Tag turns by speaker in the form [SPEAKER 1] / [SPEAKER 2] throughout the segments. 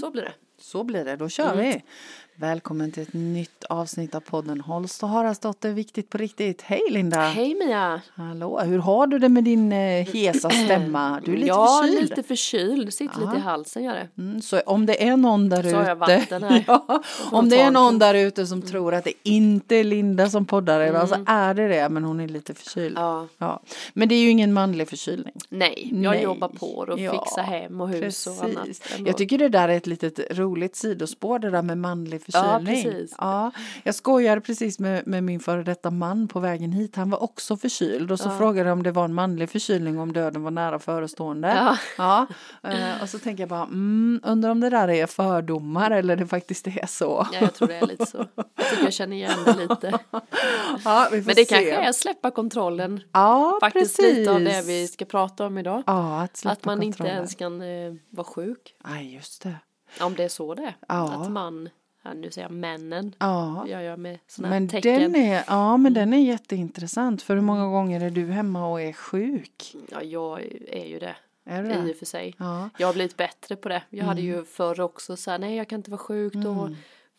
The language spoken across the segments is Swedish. [SPEAKER 1] Så blir det.
[SPEAKER 2] Så blir det, då
[SPEAKER 1] Mm.
[SPEAKER 2] kör vi. Välkommen till ett nytt avsnitt av podden Holst och Haraldsdotter, viktigt på riktigt. Hej Linda!
[SPEAKER 1] Hej Mia!
[SPEAKER 2] Hallå, hur har du det med din eh, hesa stämma? Du är lite
[SPEAKER 1] ja,
[SPEAKER 2] förkyld.
[SPEAKER 1] lite förkyld. Sitter lite i halsen gör det.
[SPEAKER 2] Mm, så om det är någon där
[SPEAKER 1] Så har jag
[SPEAKER 2] ute,
[SPEAKER 1] vatten här.
[SPEAKER 2] ja,
[SPEAKER 1] får
[SPEAKER 2] om
[SPEAKER 1] man
[SPEAKER 2] det är
[SPEAKER 1] ta
[SPEAKER 2] någon
[SPEAKER 1] en-
[SPEAKER 2] där ute
[SPEAKER 1] Mm.
[SPEAKER 2] som tror att det inte är Linda som poddar idag så är det det, men hon är lite förkyld.
[SPEAKER 1] Ja.
[SPEAKER 2] Ja. Men det är ju ingen manlig förkylning.
[SPEAKER 1] Nej, jag
[SPEAKER 2] Nej.
[SPEAKER 1] jobbar på och
[SPEAKER 2] Ja,
[SPEAKER 1] fixar hem och hus och annat.
[SPEAKER 2] Precis.
[SPEAKER 1] ändå.
[SPEAKER 2] Jag tycker det där är ett litet roligt sidospår det där med manlig
[SPEAKER 1] Ja,
[SPEAKER 2] förkylning.
[SPEAKER 1] precis.
[SPEAKER 2] Ja, jag skojade precis med, med min före detta man på vägen hit. Han var också förkyld och så frågade jag om det var en manlig förkylning och om döden var nära förestående.
[SPEAKER 1] Ja.
[SPEAKER 2] Ja, eh, och så tänker jag bara, mm, undrar om det där är fördomar eller det faktiskt är så.
[SPEAKER 1] Ja, jag tror det är lite så. Jag tycker jag känner igen det lite.
[SPEAKER 2] Ja, vi får
[SPEAKER 1] Men det
[SPEAKER 2] se.
[SPEAKER 1] kanske är att släppa kontrollen.
[SPEAKER 2] ja,
[SPEAKER 1] Faktiskt
[SPEAKER 2] precis.
[SPEAKER 1] lite av det vi ska prata om idag.
[SPEAKER 2] Ja, att, släppa
[SPEAKER 1] Att man inte
[SPEAKER 2] kontrollen.
[SPEAKER 1] ens kan eh, vara sjuk.
[SPEAKER 2] Nej, just det.
[SPEAKER 1] Om det är så det är.
[SPEAKER 2] Ja.
[SPEAKER 1] Att man, ja, nu säger jag männen,
[SPEAKER 2] Ja.
[SPEAKER 1] jag gör med sådana
[SPEAKER 2] Men
[SPEAKER 1] här tecken. Mm.
[SPEAKER 2] den är, ja men den är jätteintressant för hur många gånger är du hemma och är sjuk?
[SPEAKER 1] Ja, jag är ju det.
[SPEAKER 2] Är du
[SPEAKER 1] I
[SPEAKER 2] det?
[SPEAKER 1] och för sig.
[SPEAKER 2] Ja.
[SPEAKER 1] Jag har blivit bättre på det. Jag hade
[SPEAKER 2] Mm.
[SPEAKER 1] ju förr också så här, nej jag kan inte vara sjuk då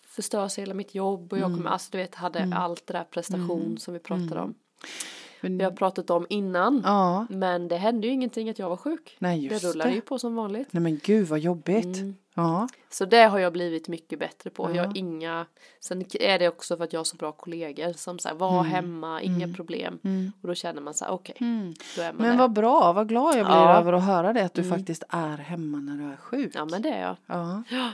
[SPEAKER 1] förstörs hela mitt jobb och jag
[SPEAKER 2] Mm.
[SPEAKER 1] kommer, alltså du vet, hade allt det där prestation som vi pratade om.
[SPEAKER 2] Men-
[SPEAKER 1] Vi har pratat om innan.
[SPEAKER 2] Ja.
[SPEAKER 1] Men det hände ju ingenting att jag var sjuk.
[SPEAKER 2] Nej, just
[SPEAKER 1] det rullade
[SPEAKER 2] det.
[SPEAKER 1] ju Mm. på som vanligt.
[SPEAKER 2] Nej men gud vad jobbigt. Ja.
[SPEAKER 1] Så det har jag blivit mycket bättre på. Jag har inga, sen är det också för att jag har så bra kollegor som så här, var
[SPEAKER 2] Mm.
[SPEAKER 1] hemma, inga problem. Och då känner man så här, okej, då är man
[SPEAKER 2] Mm. Men
[SPEAKER 1] det.
[SPEAKER 2] vad bra, vad glad jag blir
[SPEAKER 1] Ja. Mm.
[SPEAKER 2] över att höra det att du faktiskt är hemma när du är sjuk.
[SPEAKER 1] Ja men det är jag.
[SPEAKER 2] Ja. Eh,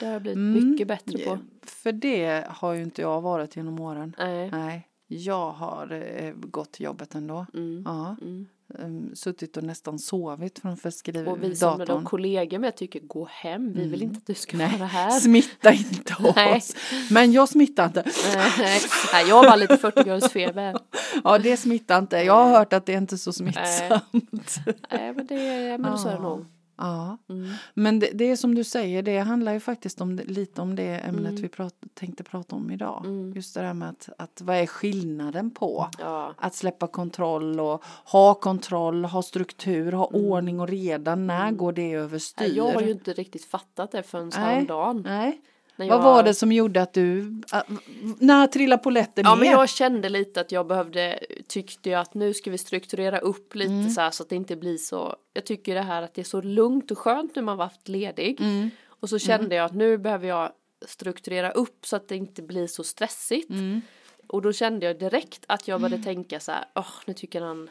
[SPEAKER 1] Det har jag blivit
[SPEAKER 2] Mm.
[SPEAKER 1] mycket bättre på.
[SPEAKER 2] För det har ju inte jag varit genom åren.
[SPEAKER 1] Nej.
[SPEAKER 2] Nej. Jag har eh, gått till jobbet ändå.
[SPEAKER 1] Mm.
[SPEAKER 2] Ja. Ehm, Suttit och nästan sovit framför
[SPEAKER 1] Och vi
[SPEAKER 2] skrivdatorn.
[SPEAKER 1] Mm, som är de kollegor med tycker gå hem, vi
[SPEAKER 2] Mm.
[SPEAKER 1] vill inte att du ska vara här.
[SPEAKER 2] Smitta inte oss.
[SPEAKER 1] Nej.
[SPEAKER 2] Men jag smittar inte.
[SPEAKER 1] Nej, Nej, jag har lite 40-gradersfeber.
[SPEAKER 2] Ja, det smittar inte. Jag har hört att det är inte är så smittsamt.
[SPEAKER 1] Nej, men det men så är det nog.
[SPEAKER 2] Ja,
[SPEAKER 1] Mm.
[SPEAKER 2] men det, det är som du säger, det handlar ju faktiskt om, det- lite om det ämnet
[SPEAKER 1] Mm.
[SPEAKER 2] vi prat, tänkte prata om idag. Just det där med att, att vad är skillnaden på
[SPEAKER 1] Ja.
[SPEAKER 2] att släppa kontroll och ha kontroll, ha struktur, ha ordning och reda. När går det överstyr?
[SPEAKER 1] Mm. Nej, Jag har ju inte riktigt fattat det förrän häromdagen.
[SPEAKER 2] Nej.
[SPEAKER 1] När
[SPEAKER 2] Vad
[SPEAKER 1] jag-
[SPEAKER 2] var det som gjorde att du, att- när trillade polletten
[SPEAKER 1] Ja,
[SPEAKER 2] ner?
[SPEAKER 1] men jag kände lite att jag behövde, tyckte jag att nu ska vi strukturera upp lite så här så att det inte blir så, jag tycker det här att det är så lugnt och skönt nu man har varit ledig. Och så kände jag att nu behöver jag strukturera upp så att det inte blir så stressigt. Och då kände jag direkt att jag började tänka så här, åh nu tycker han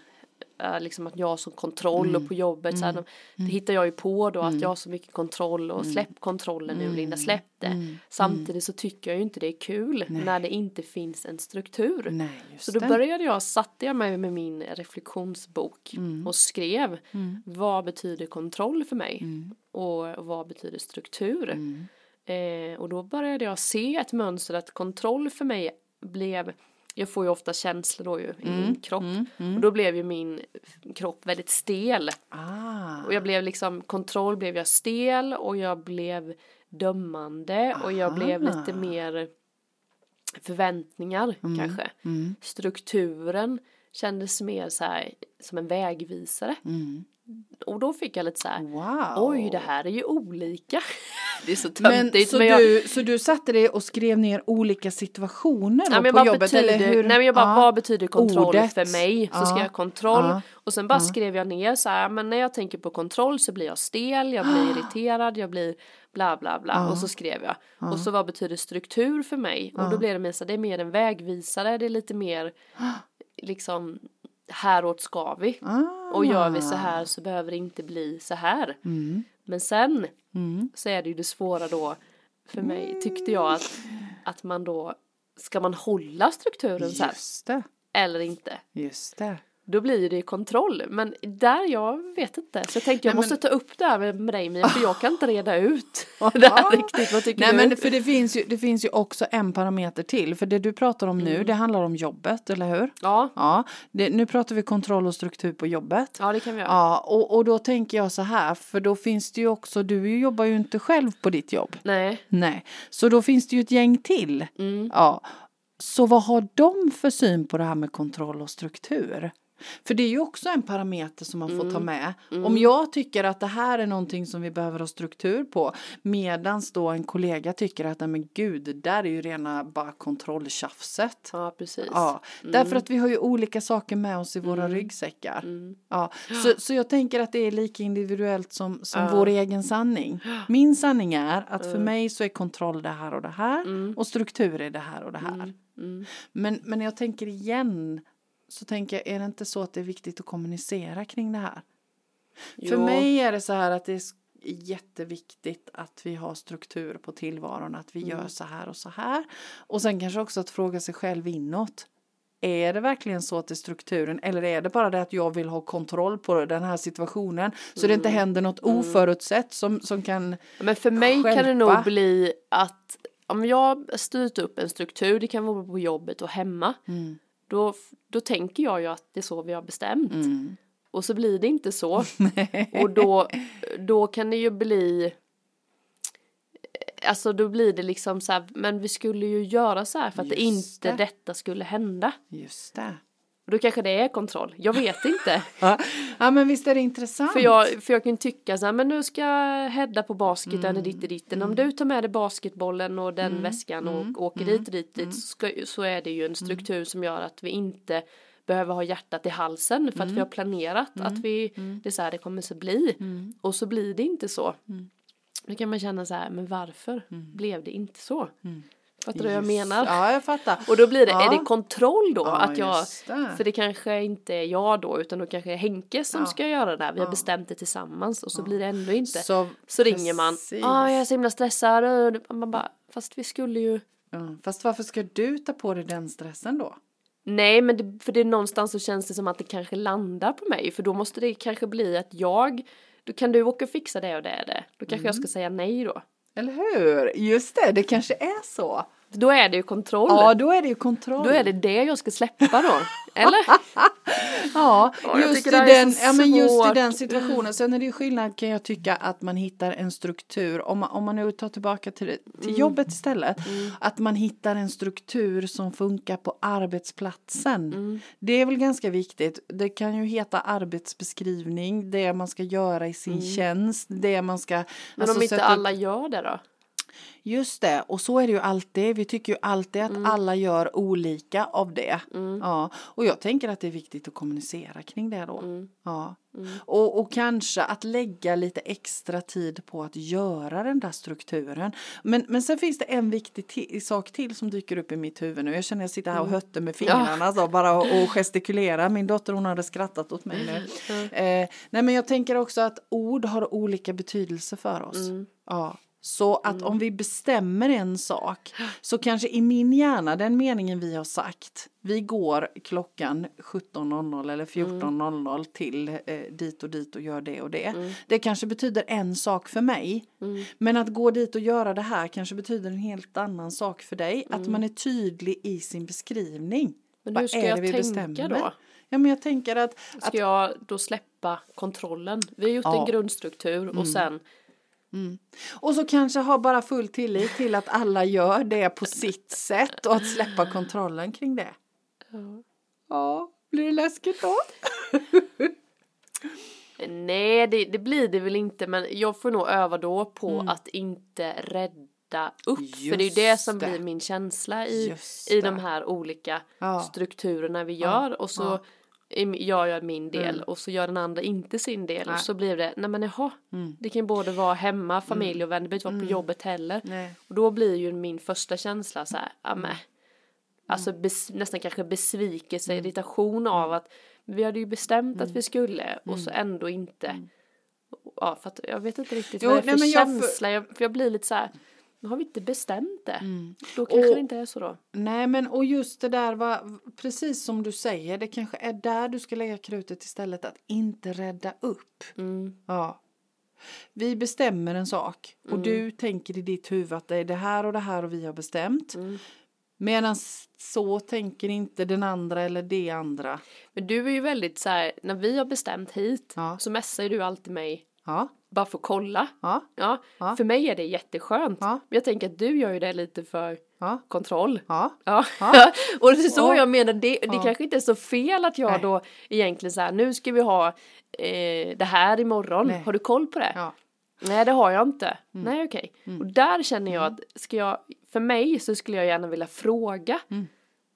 [SPEAKER 1] eh, liksom att jag har sån kontroll och på jobbet så här, de, det hittar jag ju på då att jag har så mycket kontroll och släpp kontrollen nu Linda, släpp det. Samtidigt så tycker jag ju inte det är kul när det inte finns en struktur.
[SPEAKER 2] Nej, just
[SPEAKER 1] så då
[SPEAKER 2] det.
[SPEAKER 1] började jag, satte jag mig med min reflektionsbok
[SPEAKER 2] Mm.
[SPEAKER 1] och skrev vad betyder kontroll för mig
[SPEAKER 2] Mm.
[SPEAKER 1] och, och vad betyder struktur. Eh, och då började jag se ett mönster att kontroll för mig blev jag får ju ofta känslor då ju i
[SPEAKER 2] Mm.
[SPEAKER 1] min kropp. Och då blev ju min kropp väldigt stel.
[SPEAKER 2] Ah,
[SPEAKER 1] Och jag blev liksom, kontroll blev jag stel och jag blev dömande och jag blev lite mer förväntningar kanske. Strukturen kändes mer så här som en vägvisare. Och då fick jag lite så här,
[SPEAKER 2] wow.
[SPEAKER 1] oj det här är ju olika. det är så
[SPEAKER 2] Men,
[SPEAKER 1] töntigt.
[SPEAKER 2] så,
[SPEAKER 1] jag-
[SPEAKER 2] du, så du satte dig och skrev ner olika situationer då
[SPEAKER 1] Nej, men
[SPEAKER 2] på
[SPEAKER 1] vad
[SPEAKER 2] jobbet?
[SPEAKER 1] betyder,
[SPEAKER 2] eller hur?
[SPEAKER 1] Nej men jag bara,
[SPEAKER 2] Ja.
[SPEAKER 1] vad betyder kontroll
[SPEAKER 2] Ordet.
[SPEAKER 1] för mig? Så
[SPEAKER 2] Ja.
[SPEAKER 1] skrev jag kontroll
[SPEAKER 2] Ja.
[SPEAKER 1] och sen bara skrev jag ner så här, men när jag tänker på kontroll så blir jag stel, jag
[SPEAKER 2] Ah.
[SPEAKER 1] blir irriterad, jag blir bla bla bla och så skrev jag.
[SPEAKER 2] Ah.
[SPEAKER 1] Och så vad betyder struktur för mig? Och då blev det mer så här, det är mer en vägvisare, det är lite mer liksom häråt ska vi.
[SPEAKER 2] Ah.
[SPEAKER 1] Och gör vi så här så behöver det inte bli så här.
[SPEAKER 2] Mm.
[SPEAKER 1] Men sen så är det ju det svåra då för
[SPEAKER 2] Mm.
[SPEAKER 1] mig tyckte jag att, att man då ska man hålla strukturen så här
[SPEAKER 2] Just det,
[SPEAKER 1] eller inte?
[SPEAKER 2] just det.
[SPEAKER 1] Då blir det ju kontroll men där jag vet inte så jag tänkte jag
[SPEAKER 2] Nej, men-
[SPEAKER 1] måste ta upp det här med, med dig Mia för jag kan inte reda ut det här riktigt vad tycker
[SPEAKER 2] Nej,
[SPEAKER 1] du?
[SPEAKER 2] men för det finns, ju, det finns ju också en parameter till. För det du pratar om
[SPEAKER 1] Mm.
[SPEAKER 2] nu, det handlar om jobbet, eller hur?
[SPEAKER 1] ja.
[SPEAKER 2] Ja, det, nu pratar vi kontroll och struktur på jobbet.
[SPEAKER 1] ja det kan vi göra.
[SPEAKER 2] Ja, och, och då tänker jag så här, för då finns det ju också, du jobbar ju inte själv på ditt jobb.
[SPEAKER 1] Nej.
[SPEAKER 2] Nej, så då finns det ju ett gäng till. Ja. Så vad har de för syn på det här med kontroll och struktur? För det är ju också en parameter som man får ta med. Om jag tycker att det här är någonting som vi behöver ha struktur på medans då en kollega tycker att nej men gud, det där är ju rena bara kontrolltjafset.
[SPEAKER 1] Ja, precis.
[SPEAKER 2] Ja, därför att vi har ju olika saker med oss i våra ryggsäckar. Ja, så, så jag tänker att det är lika individuellt som, som vår egen sanning. Min sanning är att för mig så är kontroll det här och det här och struktur är det här och det här. Men, men jag tänker igen, så tänker jag, är det inte så att det är viktigt att kommunicera kring det här? För
[SPEAKER 1] Jo.
[SPEAKER 2] mig är det så här att det är s- jätteviktigt att vi har struktur på tillvaron, att vi
[SPEAKER 1] Mm.
[SPEAKER 2] gör så här och så här. Och sen kanske också att fråga sig själv inåt. Är det verkligen så att det är strukturen eller är det bara det att jag vill ha kontroll på den här situationen så det inte
[SPEAKER 1] Mm.
[SPEAKER 2] händer något oförutsett som, som kan...
[SPEAKER 1] Men för mig kan det
[SPEAKER 2] Skälpa.
[SPEAKER 1] nog bli att om jag styrt upp en struktur, det kan vara på jobbet och hemma,
[SPEAKER 2] Mm.
[SPEAKER 1] då, då tänker jag ju att det är så vi har bestämt.
[SPEAKER 2] Mm.
[SPEAKER 1] Och så blir det inte så. och då, då kan det ju bli eh, Alltså då blir det liksom så här, men vi skulle ju göra så här för att det
[SPEAKER 2] Just
[SPEAKER 1] inte
[SPEAKER 2] det.
[SPEAKER 1] detta skulle hända.
[SPEAKER 2] Just det.
[SPEAKER 1] Då kanske det är kontroll, jag vet inte.
[SPEAKER 2] Ja, ja men visst är det intressant.
[SPEAKER 1] För jag, för jag kan tycka så här, men nu ska Hedda på basketen mm. Mm. ditt och ditten. Om du tar med dig basketbollen och den väskan och åker dit och dit, dit så, ska, så är det ju en struktur som gör att vi inte behöver ha hjärtat i halsen för att vi har planerat att vi, det är så här det kommer så bli. Och så blir det inte så. Då kan man känna så här, men varför blev det inte så? Fattar du vad jag
[SPEAKER 2] Just-
[SPEAKER 1] menar?
[SPEAKER 2] Ja, jag fattar.
[SPEAKER 1] Och då blir det,
[SPEAKER 2] Ja.
[SPEAKER 1] är det kontroll då?
[SPEAKER 2] Ja,
[SPEAKER 1] att jag,
[SPEAKER 2] just det.
[SPEAKER 1] För det kanske inte är jag då utan då kanske det är Henke som
[SPEAKER 2] Ja.
[SPEAKER 1] ska göra det här. Vi har bestämt det tillsammans och så blir det ändå inte. Så,
[SPEAKER 2] Så,
[SPEAKER 1] ringer man.
[SPEAKER 2] precis.
[SPEAKER 1] Ja, jag är så himla stressad. Och Man bara, fast vi skulle ju.
[SPEAKER 2] Ja, Fast varför ska du ta på dig den stressen då?
[SPEAKER 1] Nej, men det, för det är någonstans så känns det som att det kanske landar på mig. För då måste det kanske bli att jag, då kan du åka och fixa det och det är det. Då kanske jag
[SPEAKER 2] Mm.
[SPEAKER 1] ska säga nej då.
[SPEAKER 2] Eller hur? Just det, det kanske är så.
[SPEAKER 1] Då är det ju kontroll.
[SPEAKER 2] Ja, då är det ju kontroll.
[SPEAKER 1] Då är det det jag ska släppa då. Eller?
[SPEAKER 2] Ja,
[SPEAKER 1] Ja, jag
[SPEAKER 2] just i,
[SPEAKER 1] tycker det här är
[SPEAKER 2] den,
[SPEAKER 1] så
[SPEAKER 2] ja men just i
[SPEAKER 1] svårt.
[SPEAKER 2] den situationen. Sen är det ju skillnad kan jag tycka att man hittar en struktur, om man, om man nu tar tillbaka till, till
[SPEAKER 1] Mm.
[SPEAKER 2] jobbet istället, att man hittar en struktur som funkar på arbetsplatsen.
[SPEAKER 1] Mm.
[SPEAKER 2] Det är väl ganska viktigt. Det kan ju heta arbetsbeskrivning, det man ska göra i sin tjänst, det man ska...
[SPEAKER 1] Mm.
[SPEAKER 2] alltså,
[SPEAKER 1] Men om inte alla gör det då?
[SPEAKER 2] Just det, och så är det ju alltid. Vi tycker ju alltid att alla gör olika av det. Ja. Och jag tänker att det är viktigt att kommunicera kring det då. Ja. Och, och kanske att lägga lite extra tid på att göra den där strukturen. Men, men sen finns det en viktig ti- sak till som dyker upp i mitt huvud nu. Jag känner att jag sitter här och hötter med fingrarna så, bara och, och gestikulerar. Min dotter hon hade skrattat åt mig nu. Eh, nej men jag tänker också att ord har olika betydelse för oss. Ja. Så att om vi bestämmer en sak så kanske i min hjärna, den meningen vi har sagt, vi går klockan 17.00 eller 14.00 till eh, dit och dit och gör det och det. Det kanske betyder en sak för mig. Men att gå dit och göra det här kanske betyder en helt annan sak för dig. Att man är tydlig i sin beskrivning.
[SPEAKER 1] Men
[SPEAKER 2] Vad
[SPEAKER 1] hur ska
[SPEAKER 2] är det
[SPEAKER 1] jag
[SPEAKER 2] vi
[SPEAKER 1] tänka då?
[SPEAKER 2] Ja, men jag tänker att,
[SPEAKER 1] Ska jag då släppa kontrollen? Vi har gjort
[SPEAKER 2] Ja. Mm.
[SPEAKER 1] en grundstruktur och sen
[SPEAKER 2] Och så kanske ha bara full tillit till att alla gör det på sitt sätt och att släppa kontrollen kring det. Ja, blir det läskigt då?
[SPEAKER 1] Nej, det, det blir det väl inte men jag får nog öva då på att inte rädda upp för det är ju
[SPEAKER 2] Mm. Just
[SPEAKER 1] det som
[SPEAKER 2] det.
[SPEAKER 1] blir min känsla i,
[SPEAKER 2] Just
[SPEAKER 1] i
[SPEAKER 2] det.
[SPEAKER 1] de här olika
[SPEAKER 2] Ja.
[SPEAKER 1] strukturerna vi gör och så im- gör jag min del
[SPEAKER 2] Mm.
[SPEAKER 1] och så gör den andra inte sin del och så blir det, nej men jaha,
[SPEAKER 2] Mm.
[SPEAKER 1] det kan ju både vara hemma, familj och vänner, det behöver inte vara på jobbet heller
[SPEAKER 2] Nej. Mm.
[SPEAKER 1] och då blir ju min första känsla så här, ja men Alltså bes, nästan kanske besvikelse, irritation av att vi hade ju bestämt att vi skulle och så ändå inte. Ja, för att jag vet inte riktigt
[SPEAKER 2] Jo,
[SPEAKER 1] vad det är
[SPEAKER 2] nej,
[SPEAKER 1] för
[SPEAKER 2] men jag för-
[SPEAKER 1] känsla. Jag, för jag blir lite så här, nu har vi inte bestämt det. Då kanske
[SPEAKER 2] Och-
[SPEAKER 1] det inte är så då.
[SPEAKER 2] Nej, men och just det där, va, precis som du säger, det kanske är där du ska lägga krutet istället, att inte rädda upp. Ja. Vi bestämmer en sak och du tänker i ditt huvud att det är det här och det här och vi har bestämt. Medan så tänker inte den andra eller det andra.
[SPEAKER 1] Men du är ju väldigt så här, när vi har bestämt hit
[SPEAKER 2] Ja.
[SPEAKER 1] så messar ju du alltid mig
[SPEAKER 2] Ja,
[SPEAKER 1] bara för att kolla.
[SPEAKER 2] ja.
[SPEAKER 1] Ja,
[SPEAKER 2] Ja.
[SPEAKER 1] för mig är det jätteskönt.
[SPEAKER 2] Ja.
[SPEAKER 1] Men jag tänker att du gör ju det lite för
[SPEAKER 2] Ja.
[SPEAKER 1] kontroll.
[SPEAKER 2] Ja.
[SPEAKER 1] Ja.
[SPEAKER 2] Ja.
[SPEAKER 1] och det är så
[SPEAKER 2] Ja.
[SPEAKER 1] jag menar, det, det
[SPEAKER 2] Ja.
[SPEAKER 1] kanske inte är så fel att jag
[SPEAKER 2] Nej.
[SPEAKER 1] då egentligen så här, nu ska vi ha eh, det här imorgon,
[SPEAKER 2] Nej.
[SPEAKER 1] har du koll på det?
[SPEAKER 2] Ja. Mm.
[SPEAKER 1] Nej, det har jag inte. Nej, okej. Och där känner jag att, ska jag, för mig så skulle jag gärna vilja fråga.
[SPEAKER 2] Mm.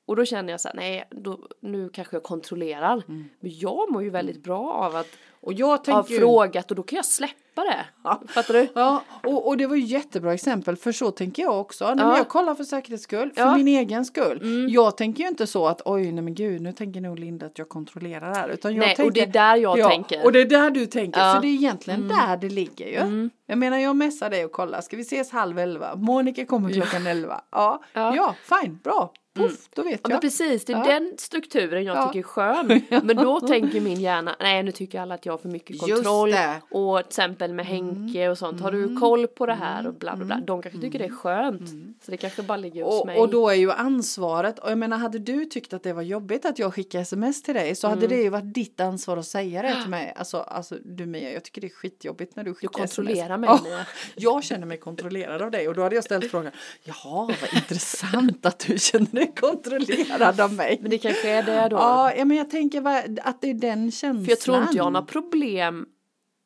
[SPEAKER 1] Och då känner jag så här, nej, då, nu kanske jag kontrollerar.
[SPEAKER 2] Mm.
[SPEAKER 1] Men jag mår ju väldigt bra av att
[SPEAKER 2] Och jag
[SPEAKER 1] ha
[SPEAKER 2] tänker ju-
[SPEAKER 1] frågat och då kan jag släppa det. Fattar du?
[SPEAKER 2] Ja, och, och det var ju jättebra exempel för så tänker jag också. Nej, men
[SPEAKER 1] Ja.
[SPEAKER 2] jag kollar för säkerhets skull, för
[SPEAKER 1] Ja. Mm.
[SPEAKER 2] min egen skull. Jag tänker ju inte så att oj nej men gud nu tänker nog Linda att jag kontrollerar det här. Utan jag
[SPEAKER 1] Nej,
[SPEAKER 2] tänker,
[SPEAKER 1] och det är där jag
[SPEAKER 2] ja,
[SPEAKER 1] tänker.
[SPEAKER 2] Och det är där du tänker,
[SPEAKER 1] Ja. Mm.
[SPEAKER 2] så det är egentligen där det ligger ju. Jag menar jag messar dig och kollar, ska vi ses halv elva? Monica kommer klockan elva. Ja, ja.
[SPEAKER 1] Ja. Mm.
[SPEAKER 2] fine, bra, poff, då vet
[SPEAKER 1] Ja,
[SPEAKER 2] jag.
[SPEAKER 1] men precis, det är
[SPEAKER 2] Ja.
[SPEAKER 1] den strukturen jag
[SPEAKER 2] Ja.
[SPEAKER 1] tycker är skön. Men då tänker min hjärna, nej nu tycker alla att jag har för mycket
[SPEAKER 2] Just
[SPEAKER 1] kontroll.
[SPEAKER 2] det. Mm.
[SPEAKER 1] Och till exempel med Henke och sånt, har du koll på det här och bla bla bla. De kanske tycker det är skönt. Så det kanske bara ligger hos mig.
[SPEAKER 2] Mm. Och, och då är ju ansvaret, och jag menar hade du tyckt att det var jobbigt att jag skickade sms till dig så
[SPEAKER 1] Mm.
[SPEAKER 2] hade det ju varit ditt ansvar att säga det till mig. Alltså, alltså du Mia, jag tycker det är skitjobbigt när du skickar
[SPEAKER 1] kontrollerar
[SPEAKER 2] sms.
[SPEAKER 1] mig,
[SPEAKER 2] Ja,
[SPEAKER 1] Mia.
[SPEAKER 2] jag känner mig kontrollerad av dig och då hade jag ställt frågan, jaha vad intressant att du känner dig kontrollerad av mig.
[SPEAKER 1] Men det kanske är det då.
[SPEAKER 2] Ja, ja, men jag tänker vad- att det är den känslan.
[SPEAKER 1] För jag tror inte jag har några problem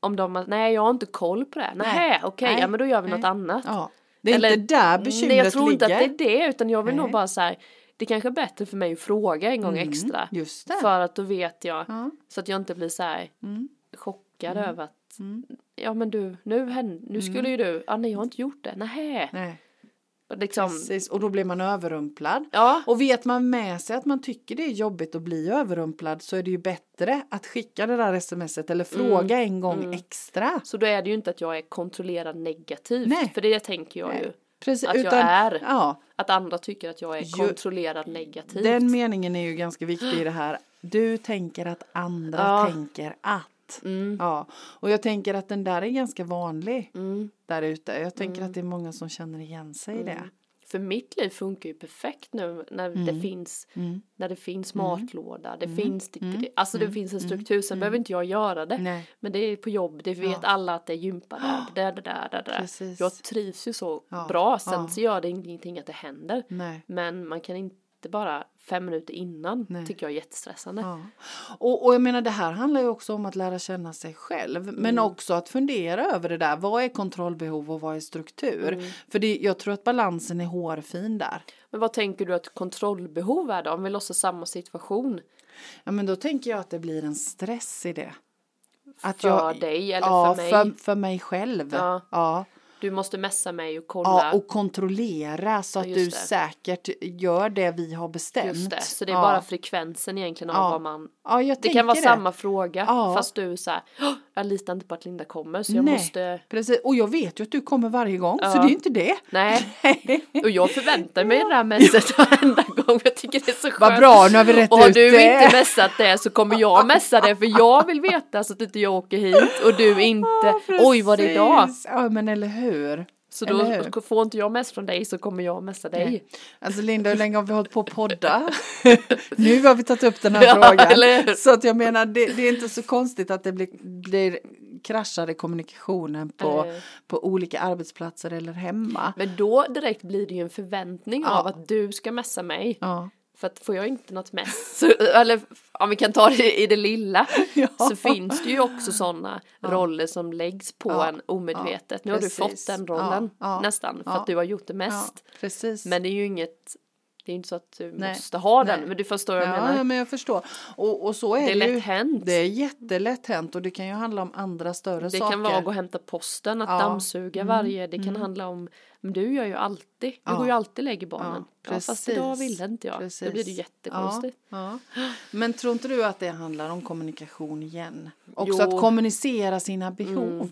[SPEAKER 1] om de har- nej jag har inte koll på det. Nej, okej,
[SPEAKER 2] Nej.
[SPEAKER 1] ja men då gör vi något
[SPEAKER 2] Nej.
[SPEAKER 1] annat.
[SPEAKER 2] Ja, det är
[SPEAKER 1] Eller- Mm,
[SPEAKER 2] inte där bekymret
[SPEAKER 1] Nej jag tror inte
[SPEAKER 2] ligger.
[SPEAKER 1] att det är det utan jag vill
[SPEAKER 2] Nej.
[SPEAKER 1] nog bara så här, det kanske är bättre för mig att fråga en gång extra.
[SPEAKER 2] Mm, Just det.
[SPEAKER 1] För att då vet jag,
[SPEAKER 2] Ja.
[SPEAKER 1] så att jag inte blir så här
[SPEAKER 2] Mm.
[SPEAKER 1] chockad över att ja men du, nu, hände, nu
[SPEAKER 2] Mm.
[SPEAKER 1] skulle ju du, ah, nej jag har inte gjort det, nej.
[SPEAKER 2] Nej.
[SPEAKER 1] Liksom,
[SPEAKER 2] Precis, och då blir man överrumplad.
[SPEAKER 1] ja,
[SPEAKER 2] Och vet man med sig att man tycker det är jobbigt att bli överrumplad så är det ju bättre att skicka det där smset eller fråga en gång extra.
[SPEAKER 1] så då är det ju inte att jag är kontrollerad negativt,
[SPEAKER 2] Nej.
[SPEAKER 1] för det tänker jag ju.
[SPEAKER 2] Precis,
[SPEAKER 1] Att jag är.
[SPEAKER 2] Ja,
[SPEAKER 1] Att andra tycker att jag är
[SPEAKER 2] Ju-
[SPEAKER 1] kontrollerad negativt.
[SPEAKER 2] den meningen är ju ganska viktig i det här. Du tänker att andra
[SPEAKER 1] Ja.
[SPEAKER 2] tänker att. Ja, och jag tänker att den där är ganska vanlig där ute. Jag tänker att det är många som känner igen sig i det.
[SPEAKER 1] För mitt liv funkar ju perfekt nu när
[SPEAKER 2] Mm.
[SPEAKER 1] det finns när det finns matlåda, det finns det,
[SPEAKER 2] Mm.
[SPEAKER 1] det- alltså det finns en struktur, sen behöver inte jag göra det.
[SPEAKER 2] Nej.
[SPEAKER 1] Men det är på jobb, det vet alla att det är gympa där, där, där, där, där, där.
[SPEAKER 2] Precis.
[SPEAKER 1] Jag trivs ju så
[SPEAKER 2] Ja,
[SPEAKER 1] bra, sen
[SPEAKER 2] ja.
[SPEAKER 1] så gör det ingenting att det händer.
[SPEAKER 2] Nej.
[SPEAKER 1] Men man kan inte bara fem minuter innan,
[SPEAKER 2] Nej.
[SPEAKER 1] tycker jag är jättestressande.
[SPEAKER 2] Ja. Och, och jag menar det här handlar ju också om att lära känna sig själv men
[SPEAKER 1] Mm.
[SPEAKER 2] också att fundera över det där. Vad är kontrollbehov och vad är struktur?
[SPEAKER 1] Mm.
[SPEAKER 2] För det, jag tror att balansen är hårfin där.
[SPEAKER 1] Men vad tänker du att kontrollbehov är då, om vi låtsas samma situation?
[SPEAKER 2] Ja men då tänker jag att det blir en stress i det. Att
[SPEAKER 1] För dig eller
[SPEAKER 2] ja,
[SPEAKER 1] för mig?
[SPEAKER 2] För, för mig själv.
[SPEAKER 1] Ja.
[SPEAKER 2] ja.
[SPEAKER 1] Du måste messa mig och kolla.
[SPEAKER 2] Ja, och kontrollera så att
[SPEAKER 1] Ja,
[SPEAKER 2] du
[SPEAKER 1] just det.
[SPEAKER 2] säkert gör det vi har bestämt.
[SPEAKER 1] Just det, så det är
[SPEAKER 2] ja.
[SPEAKER 1] bara frekvensen egentligen av
[SPEAKER 2] Ja.
[SPEAKER 1] vad man
[SPEAKER 2] Ja, jag
[SPEAKER 1] Det kan vara
[SPEAKER 2] tänker
[SPEAKER 1] samma fråga
[SPEAKER 2] Ja.
[SPEAKER 1] fast du är så här, "Åh, jag litar inte på att Linda kommer så jag
[SPEAKER 2] Nej,
[SPEAKER 1] måste
[SPEAKER 2] precis. Och jag vet ju att du kommer varje gång, så
[SPEAKER 1] Ja.
[SPEAKER 2] det är ju inte det.
[SPEAKER 1] Nej, och jag förväntar mig det här mässet varenda gång. Jag tycker det är så skönt.
[SPEAKER 2] Vad bra, nu har vi rätt
[SPEAKER 1] Och har
[SPEAKER 2] ut
[SPEAKER 1] du
[SPEAKER 2] det.
[SPEAKER 1] inte mässat det så kommer jag mässa det för jag vill veta så att inte jag åker hit och du inte.
[SPEAKER 2] Ja,
[SPEAKER 1] Oj, vad det är idag?
[SPEAKER 2] precis. Ja, men eller hur.
[SPEAKER 1] Så
[SPEAKER 2] Eller hur?
[SPEAKER 1] då får inte jag mäss från dig så kommer jag mässa dig.
[SPEAKER 2] Alltså Linda, hur länge har vi hållit på att podda? nu har vi tagit upp den här
[SPEAKER 1] Ja,
[SPEAKER 2] frågan.
[SPEAKER 1] eller hur?
[SPEAKER 2] Så att jag menar, det, det är inte så konstigt att det blir, blir kraschar i kommunikationen på,
[SPEAKER 1] Eller hur?
[SPEAKER 2] på olika arbetsplatser eller hemma.
[SPEAKER 1] Men då direkt blir det ju en förväntning
[SPEAKER 2] Ja.
[SPEAKER 1] av att du ska mässa mig.
[SPEAKER 2] Ja.
[SPEAKER 1] För att får jag inte något mess, så, eller om vi kan ta det i det lilla,
[SPEAKER 2] Ja.
[SPEAKER 1] så finns det ju också sådana roller som läggs på
[SPEAKER 2] Ja,
[SPEAKER 1] en omedvetet.
[SPEAKER 2] ja,
[SPEAKER 1] nu har du
[SPEAKER 2] precis.
[SPEAKER 1] fått den rollen
[SPEAKER 2] Ja, ja,
[SPEAKER 1] nästan, för
[SPEAKER 2] ja.
[SPEAKER 1] att du har gjort det mest.
[SPEAKER 2] Ja, precis.
[SPEAKER 1] Men det är ju inget, det är ju inte så att du
[SPEAKER 2] Nej,
[SPEAKER 1] måste ha
[SPEAKER 2] nej.
[SPEAKER 1] den, men du förstår vad jag
[SPEAKER 2] Ja,
[SPEAKER 1] menar.
[SPEAKER 2] ja, men jag förstår. Och, och så är
[SPEAKER 1] det
[SPEAKER 2] det
[SPEAKER 1] är
[SPEAKER 2] ju.
[SPEAKER 1] lätt hänt.
[SPEAKER 2] Det
[SPEAKER 1] Det,
[SPEAKER 2] är jättelätt hänt och det kan ju handla om andra större saker.
[SPEAKER 1] kan vara att gå och hämta posten, att
[SPEAKER 2] Ja.
[SPEAKER 1] dammsuga varje, det kan handla om, men du gör ju alltid, du
[SPEAKER 2] Ja.
[SPEAKER 1] går ju alltid och lägger barnen. Ja, fast idag
[SPEAKER 2] precis.
[SPEAKER 1] ville inte jag, då blir det
[SPEAKER 2] Precis.
[SPEAKER 1] jättekonstigt.
[SPEAKER 2] Ja, ja. Men tror inte du att det handlar om kommunikation igen? Också
[SPEAKER 1] Jo. Mm.
[SPEAKER 2] att kommunicera sina behov.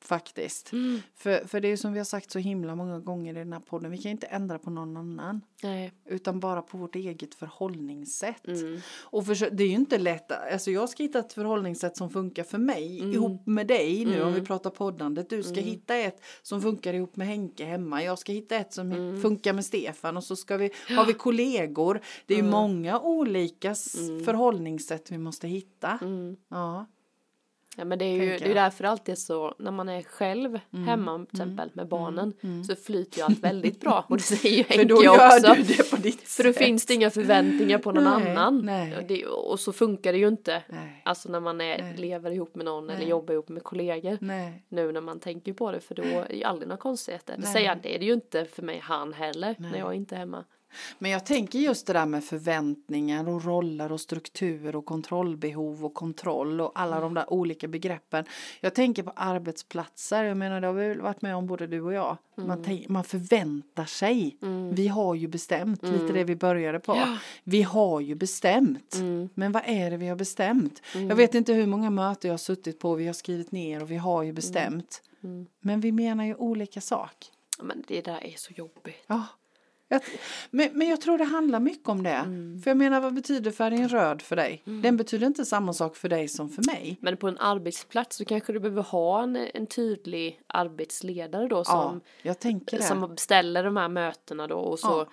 [SPEAKER 2] Faktiskt.
[SPEAKER 1] Mm.
[SPEAKER 2] För, för det är ju som vi har sagt så himla många gånger i den här podden, vi kan ju inte ändra på någon annan.
[SPEAKER 1] Nej.
[SPEAKER 2] Utan bara på vårt eget förhållningssätt.
[SPEAKER 1] Mm.
[SPEAKER 2] Och försö- det är ju inte lätt, alltså jag ska hitta ett förhållningssätt som funkar för mig
[SPEAKER 1] Mm.
[SPEAKER 2] ihop med dig nu om vi pratar poddandet. Du ska hitta ett som funkar ihop med Henke hemma. Jag ska hitta ett som
[SPEAKER 1] Mm.
[SPEAKER 2] funkar med Stefan och så ska vi, har vi kollegor. Det är
[SPEAKER 1] Mm.
[SPEAKER 2] ju
[SPEAKER 1] Mm.
[SPEAKER 2] många olika s- förhållningssätt vi måste hitta. Ja.
[SPEAKER 1] Ja, men det är ju
[SPEAKER 2] tänker
[SPEAKER 1] det är ju
[SPEAKER 2] jag. Mm.
[SPEAKER 1] därför det alltid är så när man är själv hemma till exempel med barnen så flyter ju allt väldigt bra och det säger ju
[SPEAKER 2] För Mm. då
[SPEAKER 1] Henke
[SPEAKER 2] gör
[SPEAKER 1] också.
[SPEAKER 2] du det på ditt
[SPEAKER 1] För då finns det inga förväntningar på någon
[SPEAKER 2] Nej,
[SPEAKER 1] annan.
[SPEAKER 2] nej.
[SPEAKER 1] Och, det, och så funkar det ju inte.
[SPEAKER 2] Nej. Mm.
[SPEAKER 1] Alltså när man är, lever ihop med någon eller jobbar ihop med kollegor.
[SPEAKER 2] Nej.
[SPEAKER 1] Nu när man tänker på det för då är ju aldrig några konstigheter. Det
[SPEAKER 2] Nej.
[SPEAKER 1] säger han, det är det ju inte för mig han heller när jag inte är hemma.
[SPEAKER 2] Men jag tänker just det där med förväntningar och roller och struktur och kontrollbehov och kontroll och alla de där olika begreppen. Jag tänker på arbetsplatser, jag menar det har vi väl varit med om både du och jag. Man, tänk, man förväntar sig, vi har ju bestämt, lite det vi började på. Vi har ju bestämt, men vad är det vi har bestämt? Jag vet inte hur många möten jag har suttit på, vi har skrivit ner och vi har ju bestämt. Men vi menar ju olika sak.
[SPEAKER 1] Men det där är så jobbigt.
[SPEAKER 2] Ja. Jag, men, men jag tror det handlar mycket om det.
[SPEAKER 1] Mm.
[SPEAKER 2] För jag menar, vad betyder färgen röd för dig? Den betyder inte samma sak för dig som för mig.
[SPEAKER 1] Men på en arbetsplats så kanske du behöver ha en, en tydlig arbetsledare då
[SPEAKER 2] Ja,
[SPEAKER 1] som,
[SPEAKER 2] jag tänker det.
[SPEAKER 1] som beställer de här mötena då och så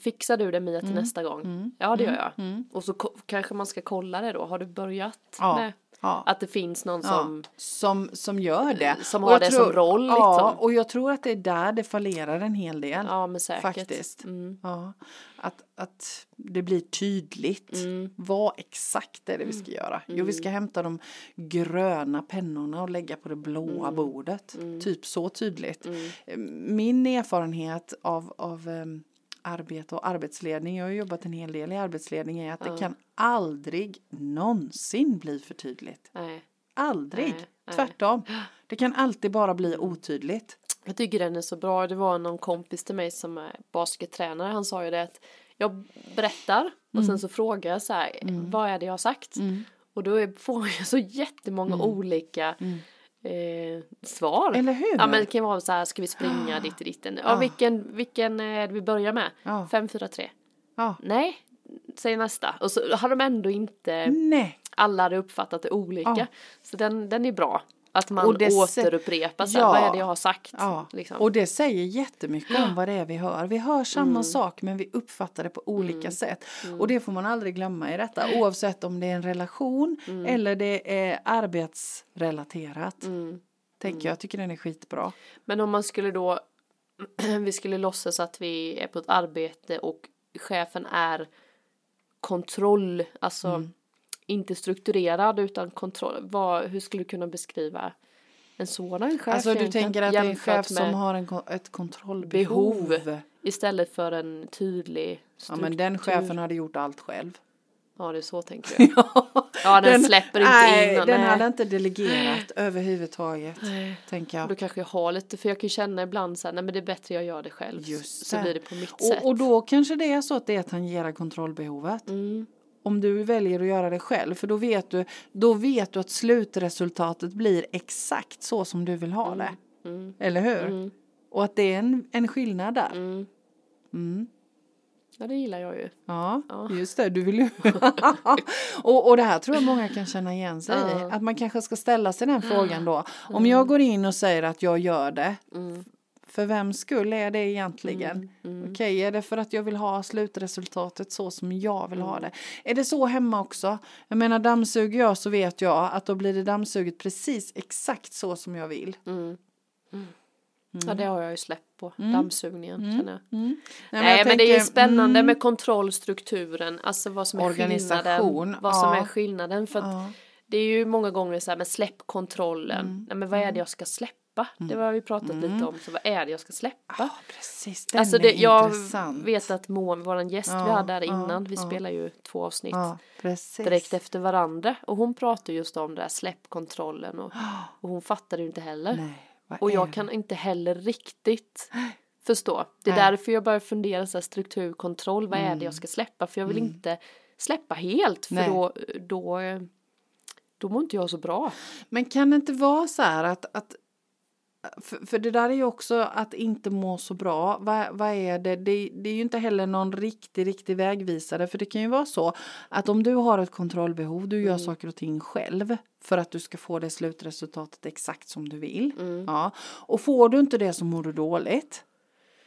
[SPEAKER 1] fixar du det Mia till
[SPEAKER 2] Mm.
[SPEAKER 1] nästa gång. Ja det gör jag. Och så ko- kanske man ska kolla det då. Har du börjat
[SPEAKER 2] Ja,
[SPEAKER 1] med
[SPEAKER 2] ja.
[SPEAKER 1] att det finns någon
[SPEAKER 2] Ja,
[SPEAKER 1] som
[SPEAKER 2] som, som gör det.
[SPEAKER 1] som
[SPEAKER 2] Och
[SPEAKER 1] har
[SPEAKER 2] jag
[SPEAKER 1] det som roll,
[SPEAKER 2] Ja,
[SPEAKER 1] liksom.
[SPEAKER 2] och jag tror att det är där det fallerar en hel del.
[SPEAKER 1] Ja men säkert.
[SPEAKER 2] Faktiskt.
[SPEAKER 1] Mm.
[SPEAKER 2] Ja, att, att det blir tydligt.
[SPEAKER 1] Mm.
[SPEAKER 2] Vad exakt är det vi ska göra? Jo, vi ska hämta de gröna pennorna och lägga på det
[SPEAKER 1] Mm.
[SPEAKER 2] blåa bordet. Typ så tydligt. Eh, Min erfarenhet av, av em, arbete och arbetsledning, jag har ju jobbat en hel del i arbetsledning, är att det kan aldrig någonsin bli för tydligt.
[SPEAKER 1] Nej.
[SPEAKER 2] Aldrig.
[SPEAKER 1] Nej, nej.
[SPEAKER 2] Tvärtom. Det kan alltid bara bli otydligt.
[SPEAKER 1] Jag tycker den är så bra. Det var någon kompis till mig som är baskettränare. Han sa ju det att jag berättar och
[SPEAKER 2] Mm.
[SPEAKER 1] sen så frågar jag så här, vad är det jag har sagt? Och då är- får jag så jättemånga olika eh, svar.
[SPEAKER 2] Mm. Eller hur? Ah.
[SPEAKER 1] Ja men det kan ju vara så här, ska vi springa dit och ditten? Ja, vilken, vilken är det vi börjar med?
[SPEAKER 2] Ja.
[SPEAKER 1] fem fyra tre
[SPEAKER 2] Ja.
[SPEAKER 1] Nej, säg nästa. Och så har de ändå inte,
[SPEAKER 2] Nej.
[SPEAKER 1] alla hade uppfattat det olika.
[SPEAKER 2] Ja.
[SPEAKER 1] Så den, den är bra. Att man
[SPEAKER 2] Ah. Och det se-
[SPEAKER 1] återupprepar så här,
[SPEAKER 2] Ja. Ah.
[SPEAKER 1] vad är det jag har sagt?
[SPEAKER 2] Ja,
[SPEAKER 1] liksom.
[SPEAKER 2] och det säger jättemycket om vad det är vi hör. Vi hör samma
[SPEAKER 1] Mm.
[SPEAKER 2] sak men vi uppfattar det på olika sätt. Och det får man aldrig glömma i detta oavsett om det är en relation
[SPEAKER 1] Mm.
[SPEAKER 2] eller det är arbetsrelaterat.
[SPEAKER 1] Mm.
[SPEAKER 2] Tänker jag, jag tycker den är skitbra.
[SPEAKER 1] Men om man skulle då, vi skulle låtsas att vi är på ett arbete och chefen är kontroll, alltså
[SPEAKER 2] Mm.
[SPEAKER 1] inte strukturerad utan kontroll. Vad, hur skulle du kunna beskriva en sådan chef?
[SPEAKER 2] Alltså du
[SPEAKER 1] egentligen?
[SPEAKER 2] tänker att det är en
[SPEAKER 1] Jämfört
[SPEAKER 2] chef som
[SPEAKER 1] med
[SPEAKER 2] har en, kon- ett kontrollbehov.
[SPEAKER 1] behov istället för en tydlig
[SPEAKER 2] Ja
[SPEAKER 1] struktur.
[SPEAKER 2] men den chefen hade gjort allt själv.
[SPEAKER 1] Ja, det är så tänker jag. Ja, den släpper inte
[SPEAKER 2] nej,
[SPEAKER 1] in och-
[SPEAKER 2] Den
[SPEAKER 1] nej.
[SPEAKER 2] hade inte delegerat överhuvudtaget. Tänker jag.
[SPEAKER 1] Då kanske jag har lite, för jag kan ju känna ibland så här, nej men det är bättre jag gör det själv.
[SPEAKER 2] Just
[SPEAKER 1] så
[SPEAKER 2] det.
[SPEAKER 1] blir det på mitt sätt.
[SPEAKER 2] Och, och då kanske det är så att det tangerar kontrollbehovet.
[SPEAKER 1] Mm.
[SPEAKER 2] Om du väljer att göra det själv, för då vet, du, då vet du att slutresultatet blir exakt så som du vill ha det.
[SPEAKER 1] Mm.
[SPEAKER 2] Eller hur? Och att det är en, en skillnad där.
[SPEAKER 1] Ja, det gillar jag ju.
[SPEAKER 2] Ja, just det. Du vill ju... och, och det här tror jag många kan känna igen sig i. Att man kanske ska ställa sig
[SPEAKER 1] Mm.
[SPEAKER 2] den frågan då. Om jag går in och säger att jag gör det.
[SPEAKER 1] Mm.
[SPEAKER 2] För vem skull är det egentligen? Okej, är det för att jag vill ha slutresultatet så som jag vill
[SPEAKER 1] Mm.
[SPEAKER 2] ha det? Är det så hemma också? Jag menar dammsuger jag så vet jag att då blir det dammsuget precis exakt så som jag vill.
[SPEAKER 1] Mm. Ja, det har jag ju släppt på. Dammsugningen känner jag.
[SPEAKER 2] Mm. Nej,
[SPEAKER 1] Nej, men,
[SPEAKER 2] men jag
[SPEAKER 1] det är ju
[SPEAKER 2] tänker, Mm.
[SPEAKER 1] spännande med kontrollstrukturen, alltså vad som är
[SPEAKER 2] Organisation,
[SPEAKER 1] skillnaden. Vad som
[SPEAKER 2] ja.
[SPEAKER 1] är skillnaden. För att det är ju många gånger så här, men släpp kontrollen.
[SPEAKER 2] Mm.
[SPEAKER 1] Nej, men vad är det jag ska släppa? Det har vi pratat lite om, så vad är det jag ska släppa?
[SPEAKER 2] Ja, precis. Mm. Ah, Den
[SPEAKER 1] alltså
[SPEAKER 2] är
[SPEAKER 1] det, jag
[SPEAKER 2] intressant.
[SPEAKER 1] vet att Moa, våran gäst vi hade här innan, vi spelar ju två avsnitt
[SPEAKER 2] Ja, precis.
[SPEAKER 1] direkt efter varandra och hon pratar just om det där släpp kontrollen och, och hon fattar ju inte heller.
[SPEAKER 2] Nej, vad
[SPEAKER 1] Och
[SPEAKER 2] är
[SPEAKER 1] jag
[SPEAKER 2] det?
[SPEAKER 1] kan inte heller riktigt förstå. Det är
[SPEAKER 2] Nej.
[SPEAKER 1] därför jag börjar fundera så här struktur, kontroll, vad är det jag ska släppa? För jag vill inte släppa helt för
[SPEAKER 2] Nej.
[SPEAKER 1] då, då, då mår inte jag så bra.
[SPEAKER 2] Men kan det inte vara så här att, att för, för det där är ju också att inte må så bra. Vad, vad är det? det? Det är ju inte heller någon riktig, riktig vägvisare. För det kan ju vara så att om du har ett kontrollbehov, du gör
[SPEAKER 1] Mm.
[SPEAKER 2] saker och ting själv för att du ska få det
[SPEAKER 1] Mm.
[SPEAKER 2] slutresultatet exakt som du vill. Ja. Och får du inte det så mår du dåligt.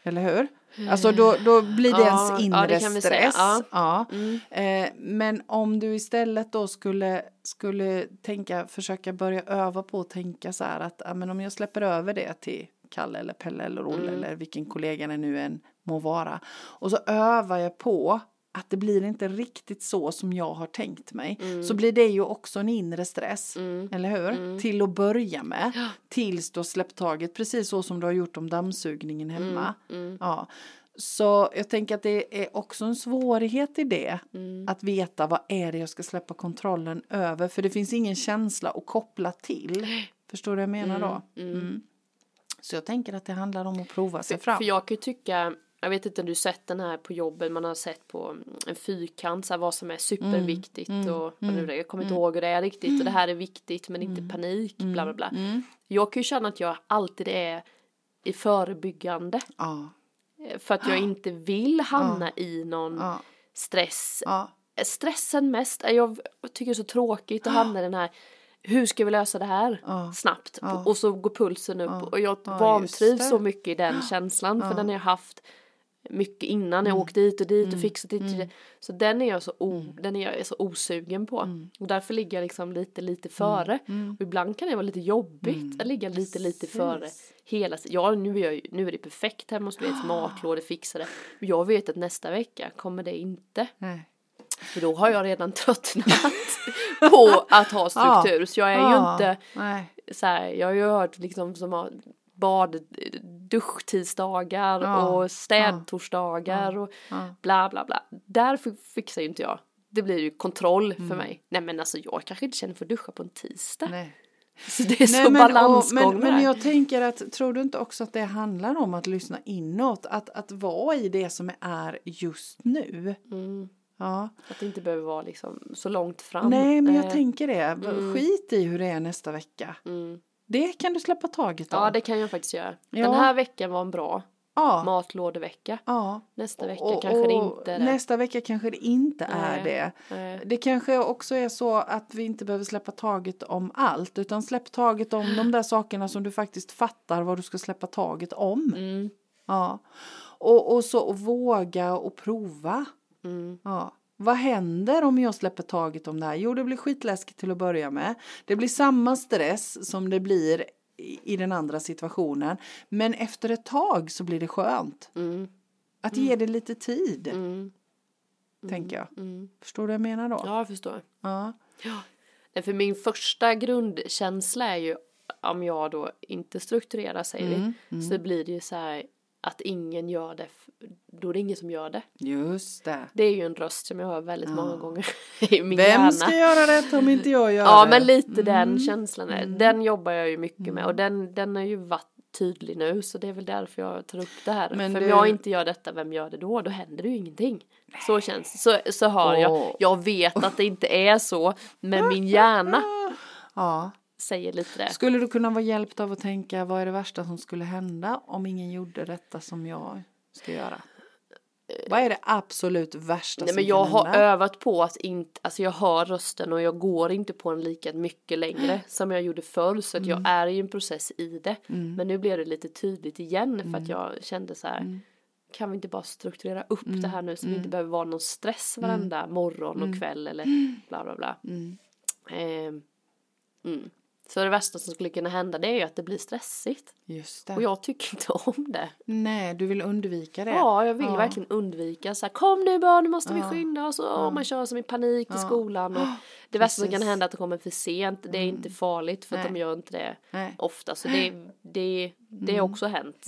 [SPEAKER 2] Eller hur? Alltså då, då blir det
[SPEAKER 1] Eh. Ja,
[SPEAKER 2] ens
[SPEAKER 1] ja,
[SPEAKER 2] inre
[SPEAKER 1] det kan vi säga.
[SPEAKER 2] stress.
[SPEAKER 1] Ja.
[SPEAKER 2] Ja. Eh, men om du istället då skulle, skulle tänka, försöka börja öva på att tänka så här att ja, men om jag släpper över det till Kalle eller Pelle eller Olle eller vilken kollega det nu än må vara. Och så övar jag på att det blir inte riktigt så som jag har tänkt mig. Så blir det ju också en inre stress,
[SPEAKER 1] Mm.
[SPEAKER 2] eller hur? Till att börja med, tills du har släppt taget, precis så som du har gjort om dammsugningen hemma.
[SPEAKER 1] Mm.
[SPEAKER 2] Ja. Så jag tänker att det är också en svårighet i det.
[SPEAKER 1] Mm.
[SPEAKER 2] Att veta vad är det jag ska släppa kontrollen över. För det finns ingen känsla att koppla till. Förstår du vad jag menar då? Mm. Så jag tänker att det handlar om att prova sig fram.
[SPEAKER 1] För jag kan ju tycka, jag vet inte om du sett den här på jobbet, man har sett på mm, en fyrkant, så här, vad som är superviktigt och vad nu det är, jag kommer inte ihåg hur det är riktigt och det här är viktigt men inte panik, bla bla bla. Jag kan ju känna att jag alltid är i förebyggande
[SPEAKER 2] Ja,
[SPEAKER 1] eh, för att jag inte vill hamna i någon
[SPEAKER 2] ja,
[SPEAKER 1] stress.
[SPEAKER 2] ja.
[SPEAKER 1] Stressen mest, eh, jag tycker det är så tråkigt att hamna i den här hur ska vi lösa det här
[SPEAKER 2] Ja.
[SPEAKER 1] snabbt? Och så går pulsen upp och jag
[SPEAKER 2] Ja, just
[SPEAKER 1] vantrivs
[SPEAKER 2] det.
[SPEAKER 1] så mycket i den känslan för den har jag haft mycket innan
[SPEAKER 2] Mm.
[SPEAKER 1] jag åkt dit och dit och fixat dit. och dit. Så den är jag så, o, den är jag så osugen på.
[SPEAKER 2] Mm.
[SPEAKER 1] Och därför ligger jag liksom lite lite före. Och ibland kan det vara lite jobbigt
[SPEAKER 2] Mm.
[SPEAKER 1] att ligga lite lite före. Hela, s- ja nu är, jag, ju- nu är det perfekt hemma hos mig, ett matlådor fixade. Men jag vet att nästa vecka kommer det inte.
[SPEAKER 2] Nej.
[SPEAKER 1] För då har jag redan tröttnat på att ha struktur. Så jag är ju
[SPEAKER 2] Ja,
[SPEAKER 1] inte
[SPEAKER 2] Nej.
[SPEAKER 1] så här, jag har ju hört liksom som har bad, duschtisdagar
[SPEAKER 2] Ja,
[SPEAKER 1] och städtorsdagar och
[SPEAKER 2] ja.
[SPEAKER 1] bla bla bla. Där fi- fixar ju inte jag. Det blir ju kontroll för mig. Nej men alltså jag kanske inte känner för att duscha på en tisdag.
[SPEAKER 2] Mm. Nej.
[SPEAKER 1] Så det är så
[SPEAKER 2] och-
[SPEAKER 1] balansgång
[SPEAKER 2] men,
[SPEAKER 1] det
[SPEAKER 2] men
[SPEAKER 1] där.
[SPEAKER 2] jag tänker att, tror du inte också att det handlar om att lyssna inåt? Att, att vara i det som är just nu.
[SPEAKER 1] Mm.
[SPEAKER 2] Ja.
[SPEAKER 1] Att det inte behöver vara liksom så långt fram.
[SPEAKER 2] Nej, men jag
[SPEAKER 1] Eh,
[SPEAKER 2] tänker det. B- Skit i hur det är nästa vecka. Det kan du släppa taget om.
[SPEAKER 1] Mm. Ja det kan jag faktiskt göra. Den
[SPEAKER 2] Ja.
[SPEAKER 1] här veckan var en bra
[SPEAKER 2] ja.
[SPEAKER 1] matlådevecka.
[SPEAKER 2] ja.
[SPEAKER 1] Nästa vecka
[SPEAKER 2] Och-
[SPEAKER 1] kanske det
[SPEAKER 2] och
[SPEAKER 1] inte är det. Eh,
[SPEAKER 2] Nästa vecka kanske det inte är det.
[SPEAKER 1] Nej.
[SPEAKER 2] Det kanske också är så att vi inte behöver släppa taget om allt utan släpp taget om de där sakerna som du faktiskt fattar vad du ska släppa taget om.
[SPEAKER 1] Mm.
[SPEAKER 2] Ja. Och, och så och våga och prova. Ja. Vad händer om jag släpper taget om det här? Jo, det blir skitläskigt till att börja med. Det blir samma stress som det blir i, i den andra situationen. Men efter ett tag så blir det skönt.
[SPEAKER 1] Mm,
[SPEAKER 2] Att ge det lite tid,
[SPEAKER 1] mm,
[SPEAKER 2] tänker jag.
[SPEAKER 1] mm.
[SPEAKER 2] Förstår du vad jag menar då?
[SPEAKER 1] Ja jag förstår.
[SPEAKER 2] Ja.
[SPEAKER 1] Nej, för min första grundkänsla är ju om jag då inte strukturerar säger
[SPEAKER 2] Mm,
[SPEAKER 1] vi så blir det ju så här att ingen gör det f- då är det ingen som gör det.
[SPEAKER 2] Just det.
[SPEAKER 1] Det är ju en röst som jag hör väldigt många gånger i min hjärna.
[SPEAKER 2] Vem ska göra det om inte jag gör
[SPEAKER 1] Ja
[SPEAKER 2] det? Mm,
[SPEAKER 1] men lite den känslan är Den jobbar jag ju mycket med och den, den har ju varit tydlig nu så det är väl därför jag tar upp det här.
[SPEAKER 2] Men
[SPEAKER 1] För om
[SPEAKER 2] du-
[SPEAKER 1] jag inte gör detta, vem gör det då? Då händer det ju ingenting. Så känns det. Så, så hör jag.
[SPEAKER 2] Åh.
[SPEAKER 1] Jag vet att det inte är så men min hjärna
[SPEAKER 2] Ja.
[SPEAKER 1] säger lite det.
[SPEAKER 2] Skulle du kunna vara hjälpt av att tänka vad är det värsta som skulle hända om ingen gjorde detta som jag ska göra? Vad är det absolut värsta
[SPEAKER 1] Nej
[SPEAKER 2] som
[SPEAKER 1] men jag
[SPEAKER 2] kan
[SPEAKER 1] har
[SPEAKER 2] hända?
[SPEAKER 1] övat på att inte, alltså jag hör rösten och jag går inte på den lika mycket längre som jag gjorde förr så att jag är i en process i det. Men nu blev det lite tydligt igen för att jag kände så här kan vi inte bara strukturera upp det här nu så vi inte behöver vara någon stress varenda morgon och kväll eller bla bla bla. Ehm, mm. Så det värsta som skulle kunna hända det är ju att det blir stressigt
[SPEAKER 2] Just det.
[SPEAKER 1] och jag tycker inte om det.
[SPEAKER 2] Nej, du vill undvika det.
[SPEAKER 1] Ja, jag vill verkligen undvika så här, kom nu barn, nu måste vi skynda oss och åh, man kör som i panik i skolan och det värsta som kan
[SPEAKER 2] Precis. Mm.
[SPEAKER 1] hända är att de kommer för sent, det är inte farligt för att de
[SPEAKER 2] Nej.
[SPEAKER 1] gör inte det
[SPEAKER 2] Nej. Mm.
[SPEAKER 1] ofta så det, det, det har också hänt.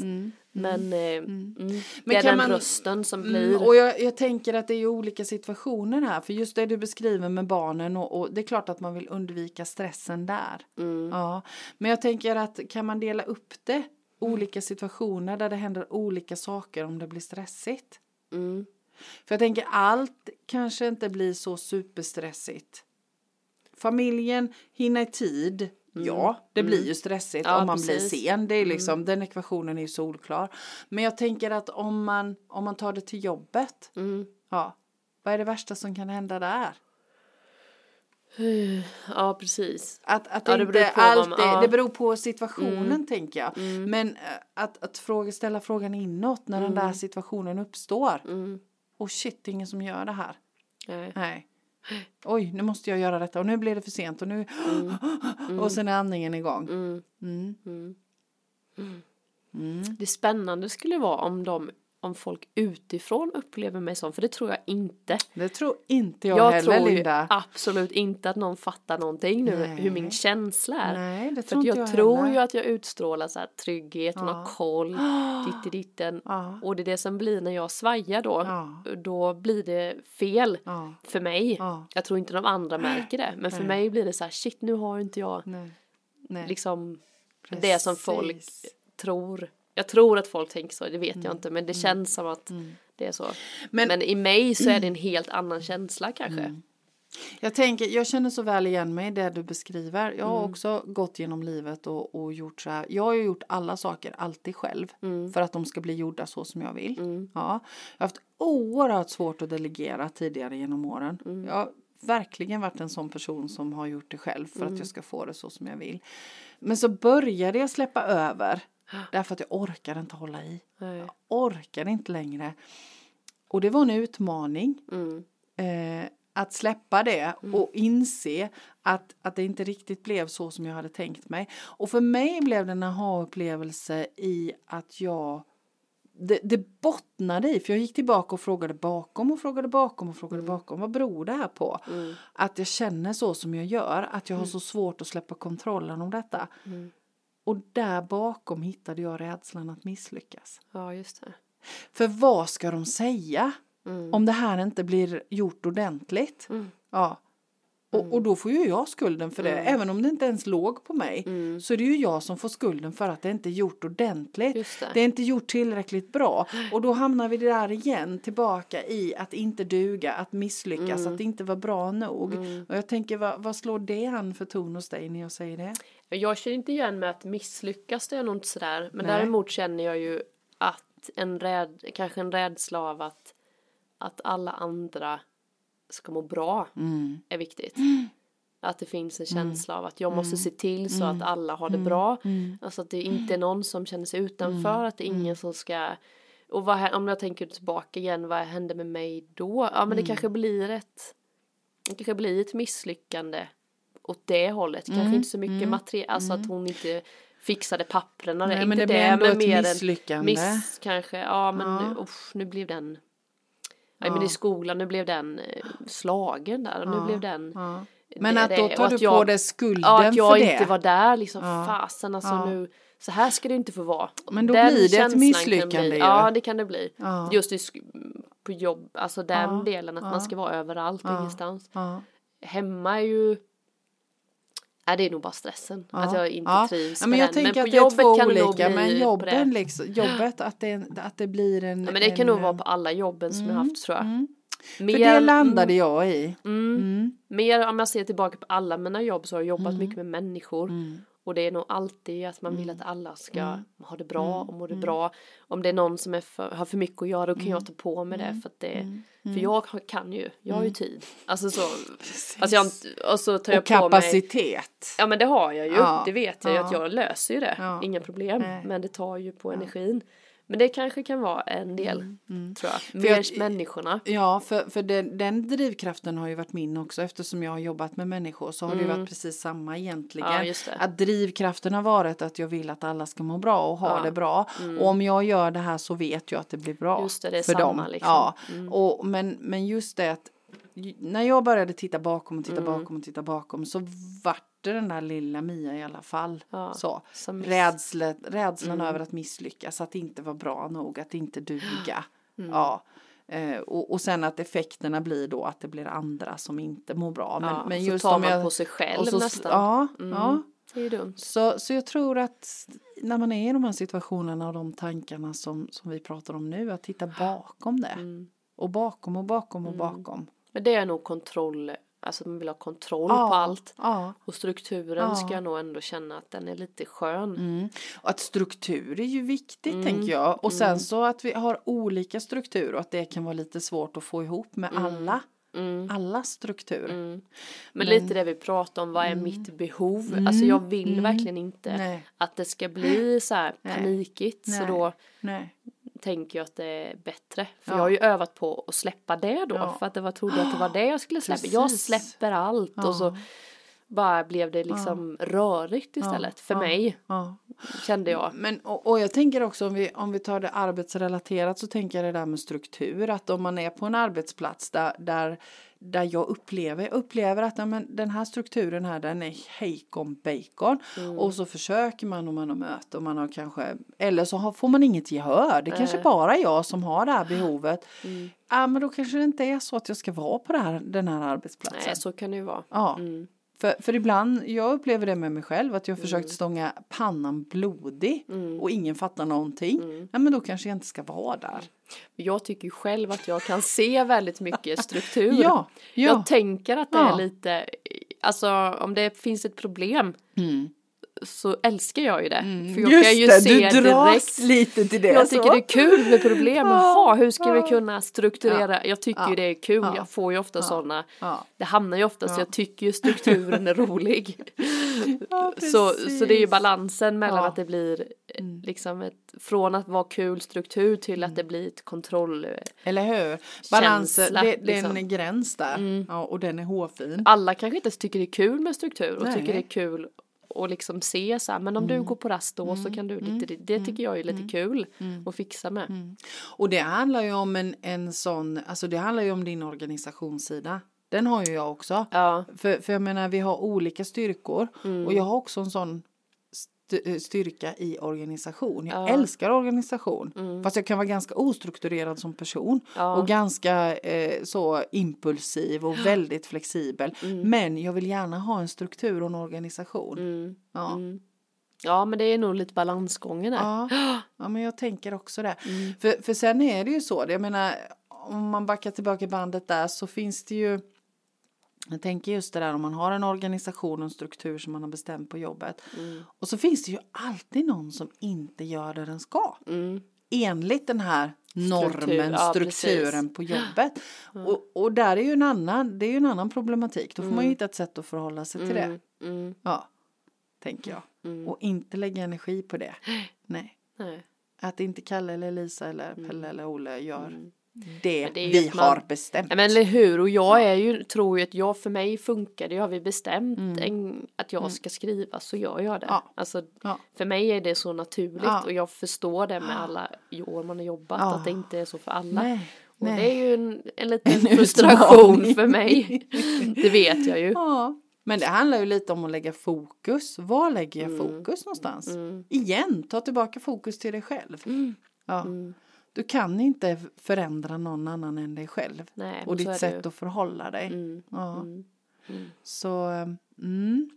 [SPEAKER 1] Men, eh, mm. det
[SPEAKER 2] Men
[SPEAKER 1] är
[SPEAKER 2] kan
[SPEAKER 1] den
[SPEAKER 2] man-
[SPEAKER 1] rösten som blir
[SPEAKER 2] Mm, och jag, jag tänker att det är ju olika situationer här. För just det du beskriver med barnen och, och det är klart att man vill undvika stressen där.
[SPEAKER 1] Mm.
[SPEAKER 2] Ja. Men jag tänker att kan man dela upp det?
[SPEAKER 1] Mm.
[SPEAKER 2] Olika situationer där det händer olika saker om det blir stressigt.
[SPEAKER 1] mm.
[SPEAKER 2] För jag tänker allt kanske inte blir så superstressigt. Familjen, hinna i tid. Ja, det blir ju stressigt
[SPEAKER 1] Mm. Ja,
[SPEAKER 2] om man
[SPEAKER 1] precis. Mm.
[SPEAKER 2] blir sen. Det är liksom, Den ekvationen är ju solklar. Men jag tänker att om man, om man tar det till jobbet.
[SPEAKER 1] Mm.
[SPEAKER 2] Ja, vad är det värsta som kan hända där?
[SPEAKER 1] Ja, precis.
[SPEAKER 2] Att, att
[SPEAKER 1] Ja, det
[SPEAKER 2] det
[SPEAKER 1] beror
[SPEAKER 2] inte
[SPEAKER 1] på vad
[SPEAKER 2] allt
[SPEAKER 1] man-
[SPEAKER 2] är-
[SPEAKER 1] ja. Mm.
[SPEAKER 2] det beror på situationen tänker jag. Men eh, att, att fråga, ställa frågan inåt när den där situationen uppstår.
[SPEAKER 1] Mm.
[SPEAKER 2] Och shit, det är ingen som gör det här.
[SPEAKER 1] Nej.
[SPEAKER 2] Nej. Oj, nu måste jag göra detta och nu blir det för sent och nu... Och sen är andningen igång.
[SPEAKER 1] Mm.
[SPEAKER 2] Mm.
[SPEAKER 1] Det spännande skulle vara om de om folk utifrån upplever mig som, för det tror jag inte.
[SPEAKER 2] Det tror inte jag,
[SPEAKER 1] Jag,
[SPEAKER 2] heller,
[SPEAKER 1] tror ju
[SPEAKER 2] Linda.
[SPEAKER 1] absolut inte att någon fattar någonting nu,
[SPEAKER 2] Nej.
[SPEAKER 1] hur min känsla är.
[SPEAKER 2] Nej, det
[SPEAKER 1] För
[SPEAKER 2] tror
[SPEAKER 1] att
[SPEAKER 2] inte
[SPEAKER 1] jag,
[SPEAKER 2] jag
[SPEAKER 1] tror
[SPEAKER 2] heller.
[SPEAKER 1] ju att jag utstrålar så här trygghet, hon har koll, dittiditten.
[SPEAKER 2] Ja.
[SPEAKER 1] Och det är det som blir när jag svajar då,
[SPEAKER 2] Ja.
[SPEAKER 1] då blir det fel
[SPEAKER 2] Ja.
[SPEAKER 1] för mig.
[SPEAKER 2] Ja.
[SPEAKER 1] Jag tror inte de andra märker det, men för
[SPEAKER 2] Nej.
[SPEAKER 1] mig blir det så här shit nu har inte jag
[SPEAKER 2] Nej. Nej.
[SPEAKER 1] liksom
[SPEAKER 2] Precis.
[SPEAKER 1] det som folk tror. Jag tror att folk tänker så, det vet jag inte, men det känns som att det är så. Men,
[SPEAKER 2] Mm. Men-
[SPEAKER 1] i mig så är det en helt annan känsla kanske.
[SPEAKER 2] Jag tänker, jag känner så väl igen mig i det du beskriver. Jag har också gått genom livet och, och gjort så här. Jag har ju gjort alla saker alltid själv för att de ska bli gjorda så som jag vill. Ja. Jag har haft oerhört svårt att delegera tidigare genom åren. Jag har verkligen varit en sån person som har gjort det själv för att jag ska få det så som jag vill. Men så började jag släppa över därför att jag orkade inte hålla i.
[SPEAKER 1] Nej.
[SPEAKER 2] Jag orkade inte längre. Och det var en utmaning
[SPEAKER 1] Mm.
[SPEAKER 2] eh, att släppa det och inse att, att det inte riktigt blev så som jag hade tänkt mig. Och för mig blev det en aha-upplevelse i att jag det, det bottnade i, för jag gick tillbaka och frågade bakom och frågade bakom och frågade bakom. Vad beror det här på? Att jag känner så som jag gör, att jag har så svårt att släppa kontrollen om detta. Och där bakom hittade jag rädslan att misslyckas.
[SPEAKER 1] Ja, just det.
[SPEAKER 2] För vad ska de säga om det här inte blir gjort ordentligt?
[SPEAKER 1] Mm.
[SPEAKER 2] Ja. Och, och då får ju jag skulden för det.
[SPEAKER 1] Mm.
[SPEAKER 2] Även om det inte ens låg på mig så är det ju jag som får skulden för att det inte är gjort ordentligt.
[SPEAKER 1] Just det.
[SPEAKER 2] är inte gjort tillräckligt bra. Och då hamnar vi där igen tillbaka i att inte duga, att misslyckas,
[SPEAKER 1] Mm.
[SPEAKER 2] att inte vara bra nog. Och jag tänker vad, vad slår det an för ton hos dig när jag säger det?
[SPEAKER 1] Jag känner inte igen mig att misslyckas, det är nog inte sådär. Men
[SPEAKER 2] Nej.
[SPEAKER 1] däremot känner jag ju att en räd, kanske en rädsla av att, att alla andra ska må bra är viktigt. Att det finns en
[SPEAKER 2] Mm.
[SPEAKER 1] känsla av att jag måste se till så att alla har det bra.
[SPEAKER 2] Mm.
[SPEAKER 1] Alltså att det inte är någon som känner sig utanför, att det är ingen som ska och vad, hä- om jag tänker tillbaka igen, vad hände med mig då? Ja men
[SPEAKER 2] Mm.
[SPEAKER 1] det kanske blir ett det kanske blir ett misslyckande åt det hållet. Kanske
[SPEAKER 2] Mm.
[SPEAKER 1] inte så mycket material, alltså att hon inte fixade papperna.
[SPEAKER 2] Nej,
[SPEAKER 1] inte
[SPEAKER 2] men det blir ändå ett
[SPEAKER 1] mer än
[SPEAKER 2] misslyckande.
[SPEAKER 1] Miss kanske, ja men Nu, usch, nu blev den Nej men i skolan, nu blev den eh, slagen där och nu blev den
[SPEAKER 2] Men
[SPEAKER 1] det-
[SPEAKER 2] att
[SPEAKER 1] det-
[SPEAKER 2] då
[SPEAKER 1] och
[SPEAKER 2] tar
[SPEAKER 1] att
[SPEAKER 2] du på
[SPEAKER 1] jag-
[SPEAKER 2] dig skulden
[SPEAKER 1] Ja, att jag
[SPEAKER 2] för det.
[SPEAKER 1] inte var där liksom.
[SPEAKER 2] Ja.
[SPEAKER 1] Fasen alltså
[SPEAKER 2] Ja.
[SPEAKER 1] nu. Så här ska det inte få vara.
[SPEAKER 2] Men då
[SPEAKER 1] Den
[SPEAKER 2] blir det ett
[SPEAKER 1] känslan kan
[SPEAKER 2] misslyckande
[SPEAKER 1] bli.
[SPEAKER 2] ju.
[SPEAKER 1] Ja, det kan det bli.
[SPEAKER 2] Ja.
[SPEAKER 1] Just i, sk- på jobb, alltså den
[SPEAKER 2] Ja.
[SPEAKER 1] delen att man ska vara överallt, ingenstans.
[SPEAKER 2] Ja.
[SPEAKER 1] Hemma är ju Nej, det är nog bara stressen. Att jag inte trivs
[SPEAKER 2] ja, men jag
[SPEAKER 1] med den.
[SPEAKER 2] tänker
[SPEAKER 1] Men
[SPEAKER 2] att
[SPEAKER 1] på
[SPEAKER 2] det
[SPEAKER 1] jobbet
[SPEAKER 2] är två
[SPEAKER 1] kan det nog
[SPEAKER 2] olika,
[SPEAKER 1] bli
[SPEAKER 2] men
[SPEAKER 1] på det.
[SPEAKER 2] jobben liksom, jobbet att det, är en- att det blir en...
[SPEAKER 1] Ja, men det kan
[SPEAKER 2] en,
[SPEAKER 1] nog vara på alla jobben som jag haft tror jag. Mer,
[SPEAKER 2] Mm. För det landade jag
[SPEAKER 1] Mm.
[SPEAKER 2] i.
[SPEAKER 1] Mer om jag ser tillbaka på alla mina jobb så har jag jobbat
[SPEAKER 2] Mm.
[SPEAKER 1] mycket med människor. Och det är nog alltid att man vill
[SPEAKER 2] Mm.
[SPEAKER 1] att alla ska ha det bra och må det bra. Om det är någon som är för, har för mycket att göra då kan
[SPEAKER 2] Mm.
[SPEAKER 1] jag ta på mig det för att det För jag har- kan ju, jag har ju tid. Alltså så, alltså jag, har inte- och så tar jag
[SPEAKER 2] Mm. Och
[SPEAKER 1] på mig
[SPEAKER 2] kapacitet.
[SPEAKER 1] Ja men det har jag ju,
[SPEAKER 2] Ja.
[SPEAKER 1] det vet jag ju att
[SPEAKER 2] Ja.
[SPEAKER 1] jag löser ju det,
[SPEAKER 2] Ja.
[SPEAKER 1] inga problem.
[SPEAKER 2] Nej.
[SPEAKER 1] Men det tar ju på energin. Men det kanske kan vara en del, tror jag.
[SPEAKER 2] Mm. För jag-
[SPEAKER 1] Mer människorna.
[SPEAKER 2] Ja, för, för den, den drivkraften har ju varit min också eftersom jag har jobbat med människor så har det ju varit precis samma egentligen.
[SPEAKER 1] Mm. Ja, just det.
[SPEAKER 2] Att drivkraften har varit att jag vill att alla ska må bra och ha det bra. Och om jag gör det här så vet jag att det blir bra
[SPEAKER 1] Mm. Just det, det är
[SPEAKER 2] för
[SPEAKER 1] samma,
[SPEAKER 2] dem.
[SPEAKER 1] liksom.
[SPEAKER 2] Ja. Och, men, men just det att ju- när jag började titta bakom och titta
[SPEAKER 1] Mm.
[SPEAKER 2] bakom och titta bakom så vart det den där lilla Mia i alla fall.
[SPEAKER 1] Ja,
[SPEAKER 2] så.
[SPEAKER 1] som miss-
[SPEAKER 2] Rädslet, rädslan
[SPEAKER 1] Mm.
[SPEAKER 2] över att misslyckas, att inte vara bra nog, att inte duga.
[SPEAKER 1] Mm.
[SPEAKER 2] Ja. Eh, och, och sen att effekterna blir då att det blir andra som inte mår bra. Men,
[SPEAKER 1] Ja,
[SPEAKER 2] men
[SPEAKER 1] så
[SPEAKER 2] just
[SPEAKER 1] tar
[SPEAKER 2] om
[SPEAKER 1] man
[SPEAKER 2] jag,
[SPEAKER 1] på sig själv
[SPEAKER 2] och så,
[SPEAKER 1] nästan. Mm.
[SPEAKER 2] Ja, ja.
[SPEAKER 1] Det är ju dumt.
[SPEAKER 2] Så, så jag tror att när man är i de här situationerna och de tankarna som, som vi pratar om nu, att titta bakom det.
[SPEAKER 1] Mm.
[SPEAKER 2] Och bakom och bakom och bakom.
[SPEAKER 1] Men det är nog kontroll, alltså att man vill ha kontroll
[SPEAKER 2] Ja,
[SPEAKER 1] på allt.
[SPEAKER 2] Ja.
[SPEAKER 1] Och strukturen ska jag nog ändå känna att den är lite skön.
[SPEAKER 2] Mm. Och att struktur är ju viktigt tänker Mm. Mm. jag. Och sen så att vi har olika struktur och att det kan vara lite svårt att få ihop med alla. alla struktur.
[SPEAKER 1] Men, lite det vi pratar om, vad är mitt behov? Alltså jag vill verkligen inte
[SPEAKER 2] Mm. Nej.
[SPEAKER 1] att det ska bli så här
[SPEAKER 2] Nej.
[SPEAKER 1] panikigt. Så
[SPEAKER 2] Nej.
[SPEAKER 1] då
[SPEAKER 2] Nej.
[SPEAKER 1] tänker jag att det är bättre. För
[SPEAKER 2] Ja.
[SPEAKER 1] jag har ju övat på att släppa det då.
[SPEAKER 2] Ja.
[SPEAKER 1] För att det var, trodde jag att det var det jag skulle släppa. Jag
[SPEAKER 2] Precis.
[SPEAKER 1] släpper allt och så bara blev det liksom rörigt istället. För
[SPEAKER 2] Ja. Mm.
[SPEAKER 1] mig
[SPEAKER 2] Ja.
[SPEAKER 1] kände jag.
[SPEAKER 2] Men, och, och jag tänker också om vi, om vi tar det arbetsrelaterat så tänker jag det där med struktur. Att om man är på en arbetsplats där, där, där jag upplever, jag upplever att ja, men, den här strukturen här den är hejkon bacon. Och så försöker man och man har möte och man har kanske, eller så har, får man inget gehör. Det kanske bara är jag som har det här behovet. Ja men då kanske det inte är så att jag ska vara på det här, den här arbetsplatsen.
[SPEAKER 1] Nej, så kan det ju vara.
[SPEAKER 2] Ja. För, för ibland, jag upplever det med mig själv, att jag har
[SPEAKER 1] Mm.
[SPEAKER 2] försökt stånga pannan blodig och ingen fattar någonting.
[SPEAKER 1] Mm.
[SPEAKER 2] Nej men då kanske jag inte ska vara där.
[SPEAKER 1] Jag tycker ju själv att jag kan se väldigt mycket struktur.
[SPEAKER 2] Ja, ja.
[SPEAKER 1] Jag tänker att det
[SPEAKER 2] Ja.
[SPEAKER 1] är lite, alltså om det finns ett problem
[SPEAKER 2] Mm.
[SPEAKER 1] så älskar jag ju det. För jag
[SPEAKER 2] Just
[SPEAKER 1] kan ju
[SPEAKER 2] det,
[SPEAKER 1] se
[SPEAKER 2] du dras
[SPEAKER 1] direkt.
[SPEAKER 2] lite till det.
[SPEAKER 1] Jag tycker
[SPEAKER 2] så.
[SPEAKER 1] det är kul med problem. Jaha, hur ska vi
[SPEAKER 2] Ja.
[SPEAKER 1] kunna strukturera? Jag tycker ju det är kul.
[SPEAKER 2] Ja.
[SPEAKER 1] Jag får ju ofta sådana.
[SPEAKER 2] Ja.
[SPEAKER 1] Det hamnar ju ofta så jag tycker ju strukturen är rolig.
[SPEAKER 2] Ja,
[SPEAKER 1] Så, så det är ju
[SPEAKER 2] precis.
[SPEAKER 1] balansen mellan
[SPEAKER 2] Ja. Mm.
[SPEAKER 1] att det blir eh, liksom ett, från att vara kul struktur till att det blir ett kontroll.
[SPEAKER 2] Eller hur? Balanser,
[SPEAKER 1] Känsla,
[SPEAKER 2] det, det är en
[SPEAKER 1] liksom.
[SPEAKER 2] gräns där. Ja, och den är hårfin.
[SPEAKER 1] Alla kanske inte ens tycker det är kul med struktur och
[SPEAKER 2] Nej. Mm.
[SPEAKER 1] tycker det är kul och liksom se så här, men om du går på rast då så kan du, lite, det, det tycker jag är lite kul
[SPEAKER 2] Mm.
[SPEAKER 1] att fixa med.
[SPEAKER 2] Och det handlar ju om en, en sån, alltså det handlar ju om din organisationssida. Den har ju jag också.
[SPEAKER 1] Ja.
[SPEAKER 2] För, för jag menar vi har olika styrkor och jag har också en sån st- eh, styrka i organisation. Jag älskar organisation. Fast jag kan vara ganska ostrukturerad som person och ganska eh, så impulsiv och väldigt flexibel. Men jag vill gärna ha en struktur och en organisation. Ja.
[SPEAKER 1] ja, men det är nog lite balansgången där.
[SPEAKER 2] Ja, ja men jag tänker också det.
[SPEAKER 1] Mm.
[SPEAKER 2] För, för sen är det ju så, jag menar om man backar tillbaka bandet där så finns det ju jag tänker just det där om man har en organisation och en struktur som man har bestämt på jobbet.
[SPEAKER 1] Mm.
[SPEAKER 2] Och så finns det ju alltid någon som inte gör det den ska.
[SPEAKER 1] Mm.
[SPEAKER 2] Enligt den här normen,
[SPEAKER 1] ja,
[SPEAKER 2] strukturen på jobbet. Och, och där är ju en annan, det är ju en annan problematik. Då får man ju hitta ett sätt att förhålla sig till det.
[SPEAKER 1] Mm,
[SPEAKER 2] Ja, tänker jag. Och inte lägga energi på det. Nej.
[SPEAKER 1] nej.
[SPEAKER 2] Att inte Kalle eller Lisa eller Pelle eller Olle gör det,
[SPEAKER 1] Mm. Men det är ju
[SPEAKER 2] vi
[SPEAKER 1] att man-
[SPEAKER 2] har bestämt.
[SPEAKER 1] Ja, men eller hur, och jag är ju, tror ju att jag, för mig funkar det, har vi bestämt en, att jag ska skriva så gör jag det.
[SPEAKER 2] Mm. Ja.
[SPEAKER 1] Alltså,
[SPEAKER 2] Ja.
[SPEAKER 1] För mig är det så naturligt
[SPEAKER 2] Ja.
[SPEAKER 1] och jag förstår det med alla år man har jobbat,
[SPEAKER 2] Ja.
[SPEAKER 1] att det inte är så för alla.
[SPEAKER 2] Nej,
[SPEAKER 1] Och
[SPEAKER 2] nej.
[SPEAKER 1] det är ju en, en liten
[SPEAKER 2] En
[SPEAKER 1] frustration
[SPEAKER 2] utmaning.
[SPEAKER 1] för mig. Det vet jag ju.
[SPEAKER 2] Ja. Men det handlar ju lite om att lägga fokus. Var lägger jag
[SPEAKER 1] Mm.
[SPEAKER 2] fokus någonstans? Igen, ta tillbaka fokus till dig själv.
[SPEAKER 1] Mm.
[SPEAKER 2] Ja. Du kan inte förändra någon annan än dig själv.
[SPEAKER 1] Nej, men
[SPEAKER 2] och
[SPEAKER 1] så är
[SPEAKER 2] ditt
[SPEAKER 1] det
[SPEAKER 2] sätt
[SPEAKER 1] ju. Mm.
[SPEAKER 2] att förhålla dig. Ja. Så, mm.
[SPEAKER 1] Mm.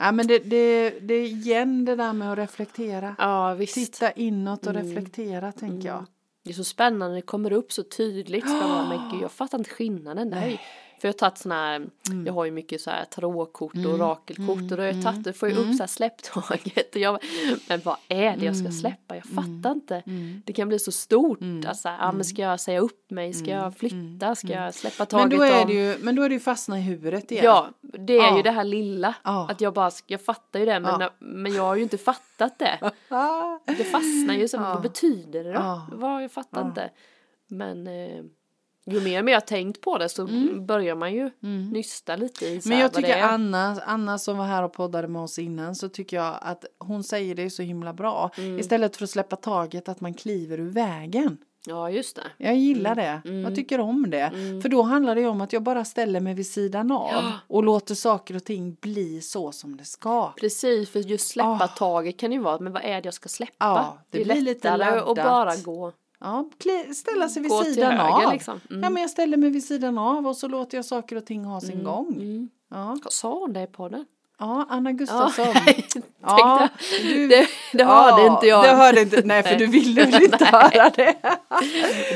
[SPEAKER 2] Ja, men det, det, det är igen det där med att reflektera.
[SPEAKER 1] Ja, visst. Mm.
[SPEAKER 2] Titta inåt och reflektera tänker jag.
[SPEAKER 1] Det är så spännande, det kommer upp så tydligt. Så jag bara, men gud, jag fattar inte skillnaden. Nej. För jag har tagit såna här,
[SPEAKER 2] Mm.
[SPEAKER 1] jag har ju mycket så här tarotkort och orakelkort och då har jag tagit, då får jag
[SPEAKER 2] Mm.
[SPEAKER 1] upp så här släpptaget. Och jag, bara, men vad är det jag ska släppa?
[SPEAKER 2] Mm.
[SPEAKER 1] Jag fattar inte. Det kan bli så stort. Alltså, ja, men ska jag säga upp mig? Ska jag flytta? Ska jag släppa taget
[SPEAKER 2] Mm. Men då, är
[SPEAKER 1] om?
[SPEAKER 2] det ju, men då är det ju fastna i huvudet igen.
[SPEAKER 1] Ja, det är
[SPEAKER 2] Ja.
[SPEAKER 1] ju det här lilla.
[SPEAKER 2] Ja.
[SPEAKER 1] Att jag bara, sk- jag fattar ju det men,
[SPEAKER 2] Ja.
[SPEAKER 1] när, men jag har ju inte fattat det.
[SPEAKER 2] Ah.
[SPEAKER 1] Det fastnar ju som, vad betyder det då?
[SPEAKER 2] Ja.
[SPEAKER 1] Vad, jag fattar inte. Men eh, ju mer och mer jag har tänkt på det så börjar man ju nysta lite i så
[SPEAKER 2] Mm. Men
[SPEAKER 1] här
[SPEAKER 2] jag
[SPEAKER 1] vad
[SPEAKER 2] tycker
[SPEAKER 1] det är.
[SPEAKER 2] Anna, Anna som var här och poddade med oss innan så tycker jag att hon säger det så himla bra.
[SPEAKER 1] Mm.
[SPEAKER 2] Istället för att släppa taget att man kliver ur vägen.
[SPEAKER 1] Ja, just det.
[SPEAKER 2] Jag gillar
[SPEAKER 1] Mm.
[SPEAKER 2] det. Jag tycker om det. För då handlar det ju om att jag bara ställer mig vid sidan av och låter saker och ting bli så som det ska.
[SPEAKER 1] Precis, för just släppa
[SPEAKER 2] Ah.
[SPEAKER 1] taget kan ju vara, men vad är det jag ska släppa?
[SPEAKER 2] Ja, det
[SPEAKER 1] är
[SPEAKER 2] blir lite
[SPEAKER 1] lättare att
[SPEAKER 2] laddat.
[SPEAKER 1] bara gå.
[SPEAKER 2] Ja, kli- ställa sig vid
[SPEAKER 1] Gå till
[SPEAKER 2] sidan
[SPEAKER 1] höger,
[SPEAKER 2] av.
[SPEAKER 1] liksom. Mm.
[SPEAKER 2] Ja, men jag
[SPEAKER 1] Mm.
[SPEAKER 2] ställer mig vid sidan av och så låter jag saker och ting ha sin gång. Ja.
[SPEAKER 1] Sa hon det i podden?
[SPEAKER 2] Ja, Ja, Anna Gustafsson.
[SPEAKER 1] Ja,
[SPEAKER 2] du-
[SPEAKER 1] det, det hörde inte jag.
[SPEAKER 2] Det hörde inte, nej för
[SPEAKER 1] Nej.
[SPEAKER 2] du ville väl inte höra det.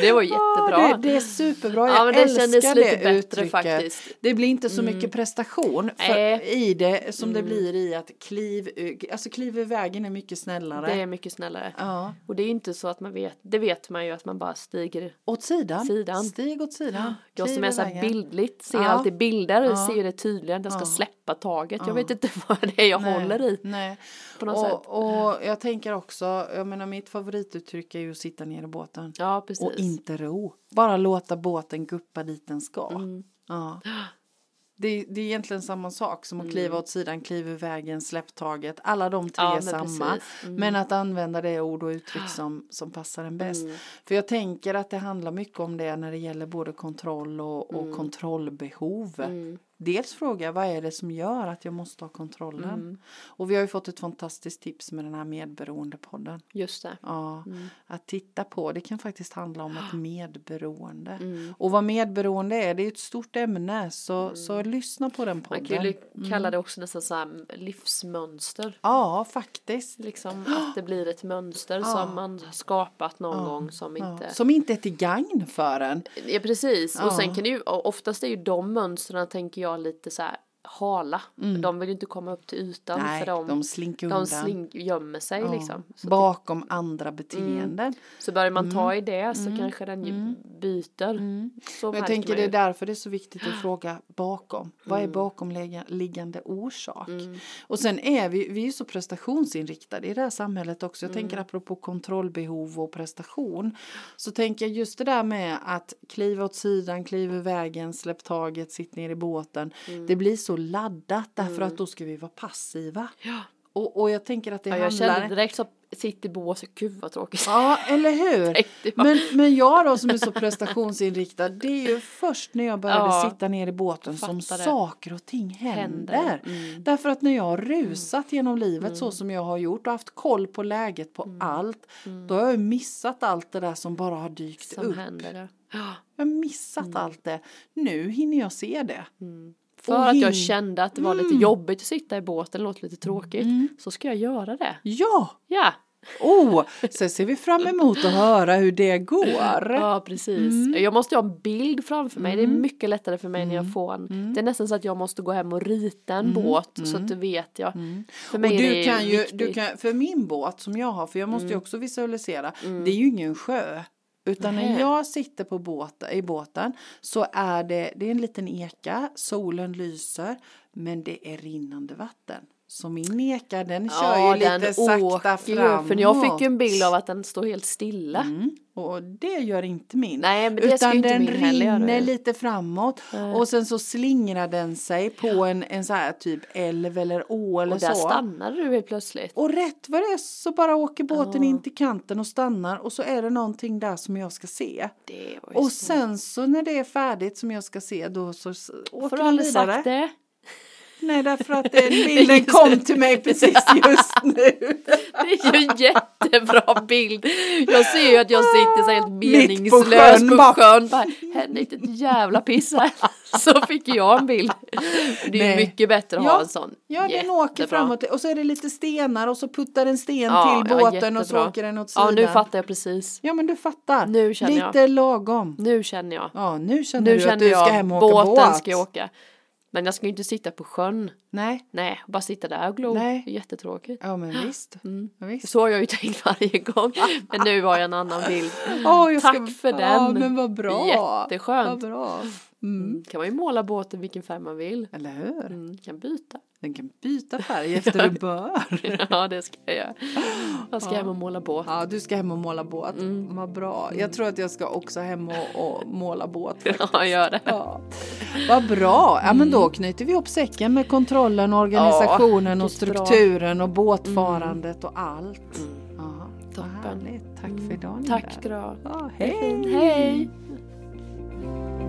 [SPEAKER 1] Det var
[SPEAKER 2] Ja,
[SPEAKER 1] jättebra.
[SPEAKER 2] Det, det är superbra, jag
[SPEAKER 1] ja, men det
[SPEAKER 2] älskar
[SPEAKER 1] kändes
[SPEAKER 2] det
[SPEAKER 1] lite bättre
[SPEAKER 2] uttrycket.
[SPEAKER 1] faktiskt. Mm.
[SPEAKER 2] Det blir inte så mycket prestation för,
[SPEAKER 1] Nej. Mm.
[SPEAKER 2] i det som det blir i att kliv, ur- alltså kliv ur vägen är mycket snällare.
[SPEAKER 1] Det är mycket snällare.
[SPEAKER 2] Ja.
[SPEAKER 1] Och det är inte så att man vet, det vet man ju att man bara stiger.
[SPEAKER 2] Åt sidan.
[SPEAKER 1] Sidan.
[SPEAKER 2] Stig åt sidan.
[SPEAKER 1] Jag som
[SPEAKER 2] Kliv
[SPEAKER 1] är
[SPEAKER 2] ur
[SPEAKER 1] så här
[SPEAKER 2] vägen.
[SPEAKER 1] bildligt ser
[SPEAKER 2] Ja.
[SPEAKER 1] alltid bilder och
[SPEAKER 2] Ja.
[SPEAKER 1] ser det tydligare att jag ska
[SPEAKER 2] Ja.
[SPEAKER 1] släppa taget.
[SPEAKER 2] Ja.
[SPEAKER 1] Jag vet inte vad det är jag håller i
[SPEAKER 2] Nej.
[SPEAKER 1] på något
[SPEAKER 2] och,
[SPEAKER 1] sätt.
[SPEAKER 2] och jag tänker också, jag menar mitt favorituttryck är ju att sitta ner i båten.
[SPEAKER 1] Ja, precis.
[SPEAKER 2] Och inte ro. Bara låta båten guppa dit den ska.
[SPEAKER 1] Mm.
[SPEAKER 2] Ja. Det, det är egentligen samma sak som
[SPEAKER 1] Mm.
[SPEAKER 2] att kliva åt sidan, kliva ur vägen, släpp taget. Alla de tre
[SPEAKER 1] Ja,
[SPEAKER 2] är
[SPEAKER 1] men
[SPEAKER 2] samma.
[SPEAKER 1] precis. Mm.
[SPEAKER 2] Men att använda det ord och uttryck som, som passar en bäst.
[SPEAKER 1] Mm.
[SPEAKER 2] För jag tänker att det handlar mycket om det när det gäller både kontroll och,
[SPEAKER 1] Mm.
[SPEAKER 2] och kontrollbehov. Dels fråga vad är det som gör att jag måste ha kontrollen?
[SPEAKER 1] Mm.
[SPEAKER 2] Och vi har ju fått ett fantastiskt tips med den här medberoendepodden.
[SPEAKER 1] Just det.
[SPEAKER 2] Ja,
[SPEAKER 1] Mm.
[SPEAKER 2] att titta på. Det kan faktiskt handla om ett medberoende.
[SPEAKER 1] Mm.
[SPEAKER 2] Och vad medberoende är, det är ju ett stort ämne. Så, så lyssna på den Mm.
[SPEAKER 1] Man
[SPEAKER 2] podden.
[SPEAKER 1] kan ju li- kalla det också nästan så här livsmönster.
[SPEAKER 2] Ja, faktiskt.
[SPEAKER 1] Liksom att det blir ett mönster som man har skapat någon gång som inte
[SPEAKER 2] Ja. Som inte är till gagn för en.
[SPEAKER 1] Ja precis och sen kan det ju och oftast är ju de mönstren tänker jag lite så här hala. De vill ju inte komma upp till ytan
[SPEAKER 2] Mm. Nej,
[SPEAKER 1] för de,
[SPEAKER 2] de slinker
[SPEAKER 1] de
[SPEAKER 2] undan.
[SPEAKER 1] slink, gömmer sig liksom. Så,
[SPEAKER 2] Bakom andra beteenden.
[SPEAKER 1] så börjar man ta
[SPEAKER 2] Mm.
[SPEAKER 1] i det så kanske den ju byter. Så
[SPEAKER 2] Och Mm. jag
[SPEAKER 1] märker
[SPEAKER 2] tänker
[SPEAKER 1] man
[SPEAKER 2] det är
[SPEAKER 1] ju.
[SPEAKER 2] därför det är så viktigt att fråga bakom. Vad är
[SPEAKER 1] Mm.
[SPEAKER 2] bakomliggande orsak? Och sen är vi, vi är ju så prestationsinriktade i det här samhället också. Jag
[SPEAKER 1] Mm.
[SPEAKER 2] tänker apropå kontrollbehov och prestation. Så tänker jag just det där med att kliva åt sidan, kliva ur vägen, släpp taget, sitt ner i båten.
[SPEAKER 1] Mm.
[SPEAKER 2] Det blir så laddat därför att då ska vi vara passiva. Och, och jag tänker att det
[SPEAKER 1] ja, jag
[SPEAKER 2] handlar...
[SPEAKER 1] kände direkt så sitt i bås, gud vad tråkigt.
[SPEAKER 2] Ja, eller hur?
[SPEAKER 1] Tänkte jag.
[SPEAKER 2] Men, men jag då som är så prestationsinriktad, det är ju först när jag började
[SPEAKER 1] Ja.
[SPEAKER 2] sitta ner i båten som
[SPEAKER 1] Fattar det.
[SPEAKER 2] saker och ting händer.
[SPEAKER 1] Händer. Mm.
[SPEAKER 2] Därför att när jag har rusat genom livet så som jag har gjort och haft koll på läget på
[SPEAKER 1] Mm.
[SPEAKER 2] allt, då har jag ju missat allt det där som bara har dykt
[SPEAKER 1] Som
[SPEAKER 2] upp.
[SPEAKER 1] händer det. Ja.
[SPEAKER 2] Jag har missat allt det. Nu hinner jag se det.
[SPEAKER 1] Mm. För
[SPEAKER 2] Och
[SPEAKER 1] att jag
[SPEAKER 2] hin-
[SPEAKER 1] kände att det var
[SPEAKER 2] Mm.
[SPEAKER 1] lite jobbigt att sitta i båten, det låter lite tråkigt. Så ska jag göra det.
[SPEAKER 2] Ja!
[SPEAKER 1] Ja,
[SPEAKER 2] Oh, sen ser vi fram emot att höra hur det går.
[SPEAKER 1] Ja, precis. Jag måste ju ha en bild framför mig.
[SPEAKER 2] Mm.
[SPEAKER 1] Det är mycket lättare för mig när jag får en. Det är nästan så att jag måste gå hem och rita en båt så att det vet jag. För mig
[SPEAKER 2] Mm. och
[SPEAKER 1] är
[SPEAKER 2] du
[SPEAKER 1] det
[SPEAKER 2] kan ju,
[SPEAKER 1] viktigt. Mm.
[SPEAKER 2] du kan, för min båt som jag har, för jag måste ju också visualisera, det är ju ingen sjö. Utan när
[SPEAKER 1] Nähä.
[SPEAKER 2] jag sitter på båt, i båten så är det, det är en liten eka, solen lyser, men det är rinnande vatten. Så min eka den kör ju lite sakta
[SPEAKER 1] åker ju,
[SPEAKER 2] framåt.
[SPEAKER 1] För jag fick ju en bild av att den står helt stilla.
[SPEAKER 2] Mm. Och det gör inte min.
[SPEAKER 1] Nej, men det ska
[SPEAKER 2] Utan
[SPEAKER 1] ju inte
[SPEAKER 2] den
[SPEAKER 1] min heller göra.
[SPEAKER 2] rinner lite framåt och sen så slingrar den sig på en, en så här typ älv eller å eller
[SPEAKER 1] Och där
[SPEAKER 2] så.
[SPEAKER 1] stannade du helt plötsligt.
[SPEAKER 2] Och rätt vad det är så bara åker båten in till kanten och stannar och så är det någonting där som jag ska se.
[SPEAKER 1] Det var ju
[SPEAKER 2] Och
[SPEAKER 1] så-
[SPEAKER 2] sen så när det är färdigt som jag ska se då så s- åker
[SPEAKER 1] Varför har du
[SPEAKER 2] den
[SPEAKER 1] aldrig
[SPEAKER 2] vidare.
[SPEAKER 1] sagt det?
[SPEAKER 2] Nej därför att den bilden kom till mig precis just nu.
[SPEAKER 1] Det är ju en jättebra bild. Jag ser ju att jag sitter så helt meningslös
[SPEAKER 2] sjön,
[SPEAKER 1] på
[SPEAKER 2] bara-
[SPEAKER 1] sjön. bara, hände inte ett jävla piss här. Så fick jag en bild. Det är ju
[SPEAKER 2] Nej.
[SPEAKER 1] mycket bättre att
[SPEAKER 2] Ja.
[SPEAKER 1] ha en sån.
[SPEAKER 2] Ja den
[SPEAKER 1] Jättebra.
[SPEAKER 2] åker framåt och så är det lite stenar och så puttar en sten
[SPEAKER 1] Ja,
[SPEAKER 2] till
[SPEAKER 1] ja,
[SPEAKER 2] båten och så
[SPEAKER 1] jättebra.
[SPEAKER 2] åker den åt
[SPEAKER 1] Ja,
[SPEAKER 2] sidan.
[SPEAKER 1] nu fattar jag precis.
[SPEAKER 2] Ja men du fattar.
[SPEAKER 1] Nu känner jag.
[SPEAKER 2] lite lagom.
[SPEAKER 1] Nu känner jag.
[SPEAKER 2] Ja nu känner
[SPEAKER 1] Nu
[SPEAKER 2] du att
[SPEAKER 1] känner
[SPEAKER 2] du ska
[SPEAKER 1] jag.
[SPEAKER 2] hem och åka
[SPEAKER 1] Båten
[SPEAKER 2] båt.
[SPEAKER 1] ska jag åka. Men jag ska ju inte sitta på sjön.
[SPEAKER 2] Nej.
[SPEAKER 1] Nej, bara sitta där och glo.
[SPEAKER 2] Nej.
[SPEAKER 1] Det är jättetråkigt.
[SPEAKER 2] Ja men visst.
[SPEAKER 1] Mm.
[SPEAKER 2] Ja, visst.
[SPEAKER 1] Så har jag ju tänkt varje gång. Men nu har jag en annan bild.
[SPEAKER 2] Åh, jag
[SPEAKER 1] Mm. Tack för
[SPEAKER 2] Ja,
[SPEAKER 1] den.
[SPEAKER 2] men vad bra.
[SPEAKER 1] Jätteskönt.
[SPEAKER 2] Vad bra.
[SPEAKER 1] Mm. Kan man ju måla båten vilken färg man vill.
[SPEAKER 2] Eller hur?
[SPEAKER 1] Mm, kan byta.
[SPEAKER 2] Den kan byta färg efter en bör.
[SPEAKER 1] Ja, det ska jag göra. Jag ska hem och måla båt.
[SPEAKER 2] Ja, du ska hem och måla båt.
[SPEAKER 1] Mm.
[SPEAKER 2] Vad bra. Jag tror att jag ska också hem och, och måla båt.
[SPEAKER 1] Ja, gör det.
[SPEAKER 2] Ja. Vad bra. Ja, men då knyter vi ihop säcken med kontrollen, och organisationen
[SPEAKER 1] Mm. Ja, Mm.
[SPEAKER 2] och
[SPEAKER 1] vilket bra.
[SPEAKER 2] strukturen och båtfarandet och allt. Ja, vad
[SPEAKER 1] Mm. Toppen. Mm.
[SPEAKER 2] härligt. Tack för idag. Linda.
[SPEAKER 1] Tack ska du ha.
[SPEAKER 2] Ja,
[SPEAKER 1] Hej!
[SPEAKER 2] hej.
[SPEAKER 1] Hej!